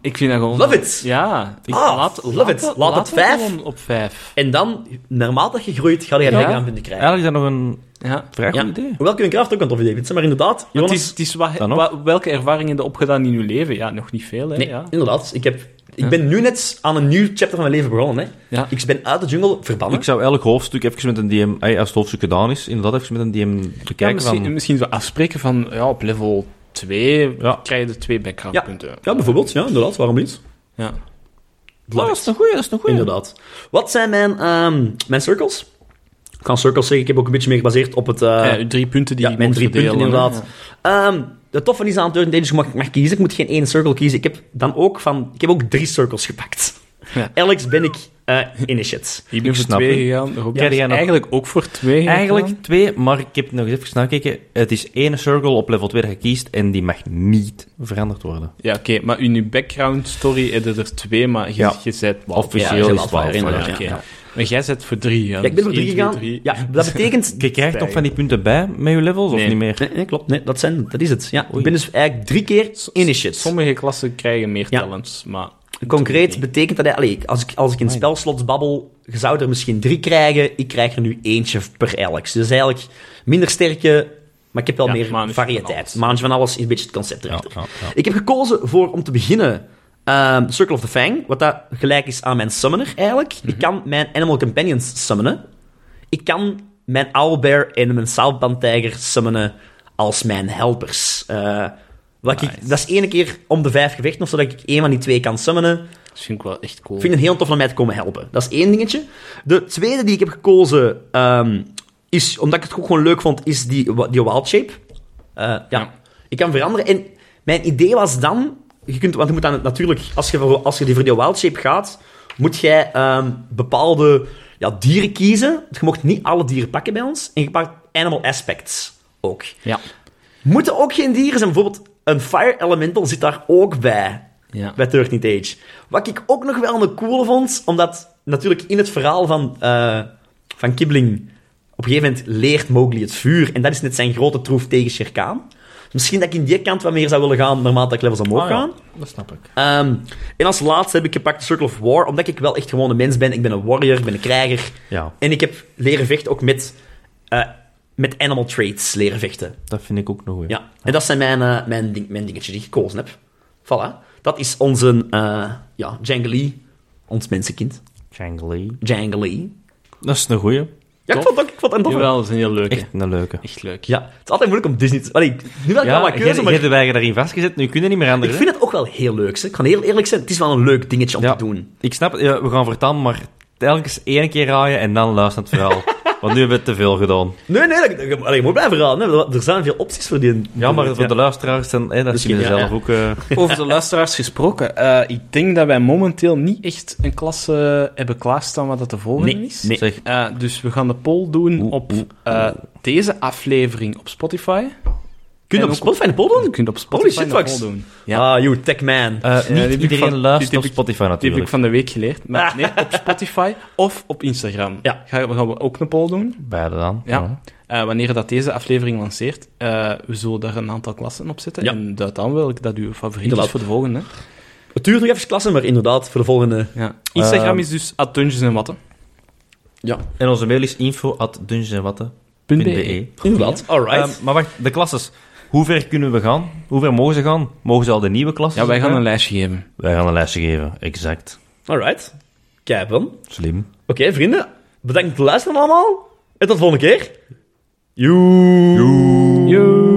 Speaker 3: Ik vind dat gewoon...
Speaker 2: Love it.
Speaker 3: Ja. Ik
Speaker 2: Ah, love it. Laat het vijf.
Speaker 3: gewoon op 5.
Speaker 2: en dan, naarmate je groeit, ga je
Speaker 3: Ja.
Speaker 2: ja. punten krijgen.
Speaker 1: Eigenlijk is dat nog een
Speaker 3: Ja.
Speaker 1: vrij goed
Speaker 2: Ja.
Speaker 1: idee.
Speaker 2: Hoewel kunnen Craft ook een tof idee vinden, maar inderdaad...
Speaker 3: Want
Speaker 2: Jonas,
Speaker 3: het is, het is wat-
Speaker 1: Dan nog?
Speaker 3: wa- welke ervaringen heb je opgedaan in je leven? Ja, nog niet veel, hè.
Speaker 2: Nee,
Speaker 3: Ja.
Speaker 2: inderdaad. Ik, heb, ik ben nu net aan een nieuw chapter van mijn leven begonnen, hè.
Speaker 3: Ja.
Speaker 2: Ik ben uit de jungle verbannen.
Speaker 1: Ik zou elk hoofdstuk even met een DM... ey, Als het hoofdstuk gedaan is, inderdaad even met een DM
Speaker 3: Ja,
Speaker 1: bekijken
Speaker 3: misschien,
Speaker 1: van...
Speaker 3: misschien zo afspreken van... Ja, op level 2
Speaker 1: Ja.
Speaker 3: krijg je de 2 backgroundpunten.
Speaker 2: Ja, bijvoorbeeld. Ja, inderdaad. Waarom niet?
Speaker 3: ja.
Speaker 1: Oh, dat is een goeie, dat is een goeie.
Speaker 2: Inderdaad. Wat zijn mijn, ehm, mijn circles? kan Circles zeggen, ik heb ook een beetje meer gebaseerd op het... eh,
Speaker 3: Eh, drie punten die
Speaker 2: ja,
Speaker 3: je
Speaker 2: mijn
Speaker 3: mocht
Speaker 2: drie punten
Speaker 3: verdelen, hè.
Speaker 2: inderdaad. Ehm, de toffe is aan het Dance, je mag, mag kiezen. Ik moet geen één circle kiezen. Ik heb dan ook van... Ik heb ook drie circles gepakt.
Speaker 3: Ja.
Speaker 2: Alex ben ik eh in de shit.
Speaker 3: Ik ben
Speaker 1: Ik
Speaker 3: voor
Speaker 1: snap
Speaker 3: twee
Speaker 1: het.
Speaker 3: gegaan. Robert
Speaker 1: Jij
Speaker 3: is
Speaker 1: nog-
Speaker 3: eigenlijk ook voor twee
Speaker 1: Eigenlijk
Speaker 3: gegaan.
Speaker 1: twee, maar ik heb nog eens even snel gekeken. Het is één circle op level 2 dat je kiest en die mag niet veranderd worden.
Speaker 3: Ja, oké. maar in je background story hebben er twee, maar je,
Speaker 1: Ja.
Speaker 3: je zet...
Speaker 1: Officieel
Speaker 2: ja,
Speaker 1: is
Speaker 2: ja,
Speaker 1: 12.
Speaker 2: ja,
Speaker 1: Ja,
Speaker 3: Ja, oké. Maar jij zet voor drie, hè?
Speaker 2: Ja, ik ben voor
Speaker 3: Dus
Speaker 2: drie
Speaker 3: één,
Speaker 2: gegaan.
Speaker 3: twee, drie.
Speaker 2: Ja, dat betekent...
Speaker 3: [LAUGHS]
Speaker 1: Je krijgt toch van die punten bij met je levels,
Speaker 3: Nee.
Speaker 1: of niet meer?
Speaker 2: Nee, nee, klopt. Nee, dat, zijn, dat is het. Ja,
Speaker 1: Oei.
Speaker 2: ik ben dus eigenlijk drie keer in de shit.
Speaker 3: Sommige klassen krijgen meer
Speaker 2: Ja.
Speaker 3: talents, maar...
Speaker 2: Concreet betekent dat... Allee, als, ik, als ik in
Speaker 1: Amai.
Speaker 2: spelslots babbel, je zou er misschien drie krijgen. Ik krijg er nu eentje per Alex. Dus eigenlijk minder sterke, maar ik heb wel
Speaker 3: Ja,
Speaker 2: meer
Speaker 3: manage van
Speaker 2: variëteit.
Speaker 3: alles.
Speaker 2: Manage van alles is een beetje het concept
Speaker 1: Ja,
Speaker 2: erachter.
Speaker 1: ja, ja.
Speaker 2: Ik heb gekozen voor, om te beginnen, ehm, Circle of the Fang. Wat dat gelijk is aan mijn summoner, eigenlijk.
Speaker 1: Mhm.
Speaker 2: Ik kan mijn Animal Companions summonen. Ik kan mijn Owlbear en mijn Southbound Tiger summonen als mijn helpers. Eh, wat ik,
Speaker 3: Nice.
Speaker 2: dat is één keer om de vijf gevechten of zodat ik één van die twee kan summonen.
Speaker 3: Dat vind ik wel echt cool.
Speaker 2: Ik vind het heel tof om mij te komen helpen. Dat is één dingetje. De tweede die ik heb gekozen, ehm, is, omdat ik het ook gewoon leuk vond, is die, wa- die wild shape. Eh, ja.
Speaker 3: Ja.
Speaker 2: ik kan veranderen. En mijn idee was dan, je kunt, want je moet dan natuurlijk, als je, voor, als je die voor die wild shape gaat, moet jij ehm, bepaalde ja, dieren kiezen. Je mocht niet alle dieren pakken bij ons. En je pakt animal aspects ook.
Speaker 3: Ja.
Speaker 2: Moeten ook geen dieren zijn. Bijvoorbeeld, een fire elemental zit daar ook bij
Speaker 3: Ja.
Speaker 2: bij 13 Age. Wat ik ook nog wel een cool vond, omdat natuurlijk in het verhaal van, eh, van Kibling op een gegeven moment leert Mowgli het vuur en dat is net zijn grote troef tegen Shere Khan. Misschien dat ik in die kant wat meer zou willen gaan, naarmate ik levels omhoog
Speaker 1: Ah, ja.
Speaker 2: gaan.
Speaker 1: Dat snap ik.
Speaker 2: Ehm, en als laatste heb ik gepakt Circle of War, omdat ik wel echt gewoon een mens ben. Ik ben een warrior, ik ben een krijger.
Speaker 1: Ja,
Speaker 2: En ik heb leren vechten ook met, eh, met animal traits leren vechten.
Speaker 1: dat vind ik ook nog goed.
Speaker 2: Ja, en dat zijn mijn, eh, mijn, ding, mijn dingetjes die ik gekozen heb. Voilà. Dat is onze eh ja, Janglee. Ons mensenkind.
Speaker 1: Shang-Li.
Speaker 2: Janglee.
Speaker 1: Dat is een goeie.
Speaker 2: Ja,
Speaker 3: Tof.
Speaker 2: ik vond, het ook, ik vond het een toffe.
Speaker 3: Jawel, dat is een heel leuke.
Speaker 1: Echt een leuke.
Speaker 3: Echt leuk.
Speaker 2: Ja, het is altijd moeilijk om Disney te... Allee, nu wel ja,
Speaker 1: Ja,
Speaker 2: maar
Speaker 1: je
Speaker 2: keuze, maar
Speaker 1: hebt de weiger daarin vastgezet, nu kunnen niet meer
Speaker 2: ik
Speaker 1: anders. hè?
Speaker 2: vind het ook wel heel leuk. zeg. Ik kan heel eerlijk zijn, het is wel een leuk dingetje om
Speaker 1: Ja.
Speaker 2: te doen.
Speaker 1: Ik snap het, ja, we gaan vertalen, maar telkens één keer raaien en dan luisteren het verhaal. Want nu hebben we te veel gedaan.
Speaker 2: Nee, nee, dat, dat- allee, je moet blijven raden. hè. Er zijn veel opties voor die...
Speaker 1: Ja, maar voor de luisteraars, dan, hè, dat zien we
Speaker 2: Misschien, ja,
Speaker 1: zelf ook. eh,
Speaker 3: Over de luisteraars gesproken. eh, ik denk dat wij momenteel niet echt een klasse hebben klaarstaan wat dat de volgende
Speaker 2: Nee,
Speaker 3: is.
Speaker 2: nee.
Speaker 1: zeg,
Speaker 3: Eh, dus we gaan de poll doen
Speaker 1: Oeh,
Speaker 3: op
Speaker 1: oeh,
Speaker 3: eh, deze aflevering op Spotify.
Speaker 2: Kun je
Speaker 3: En
Speaker 2: op
Speaker 3: ook
Speaker 2: Spotify een poll
Speaker 3: Je
Speaker 2: doen?
Speaker 3: kunt op Spotify
Speaker 2: shit,
Speaker 3: de
Speaker 2: Max.
Speaker 3: poll doen.
Speaker 1: Ja.
Speaker 2: Ah, you tech man.
Speaker 1: eh,
Speaker 3: die heb
Speaker 1: niet
Speaker 3: ik
Speaker 1: iedereen
Speaker 3: van- die
Speaker 1: luistert op
Speaker 3: heb ik-
Speaker 1: Spotify
Speaker 3: Die heb
Speaker 1: natuurlijk.
Speaker 3: ik van de week geleerd. Maar [LAUGHS] nee, op Spotify of op Instagram.
Speaker 2: Ja.
Speaker 3: Gaan we, gaan we ook een poll doen.
Speaker 1: Beide dan.
Speaker 3: Ja. Eh, wanneer dat deze aflevering lanceert, eh, we zullen daar een aantal klassen op zetten.
Speaker 2: Ja.
Speaker 3: En dat dan wel ik dat uw favoriet
Speaker 2: Inderdaad.
Speaker 3: is voor de volgende.
Speaker 2: Het duurt nog even klassen, maar inderdaad, voor de volgende...
Speaker 3: Ja. Instagram
Speaker 1: Ehm.
Speaker 3: is dus at Dungeons en Watten.
Speaker 1: En onze mail is info at dungeonwatten.be.
Speaker 2: Inderdaad, alright.
Speaker 1: Ehm, maar wacht, de klasses. Hoe ver kunnen we gaan? Hoe ver mogen ze gaan? Mogen ze al de nieuwe klassen?
Speaker 3: Ja, wij gaan een lijstje geven.
Speaker 1: wij gaan een lijstje geven, exact.
Speaker 2: alright. Kijk dan.
Speaker 1: Slim.
Speaker 2: Oké, vrienden. Bedankt voor het luisteren allemaal. En tot de volgende keer. Joe.
Speaker 3: Joe.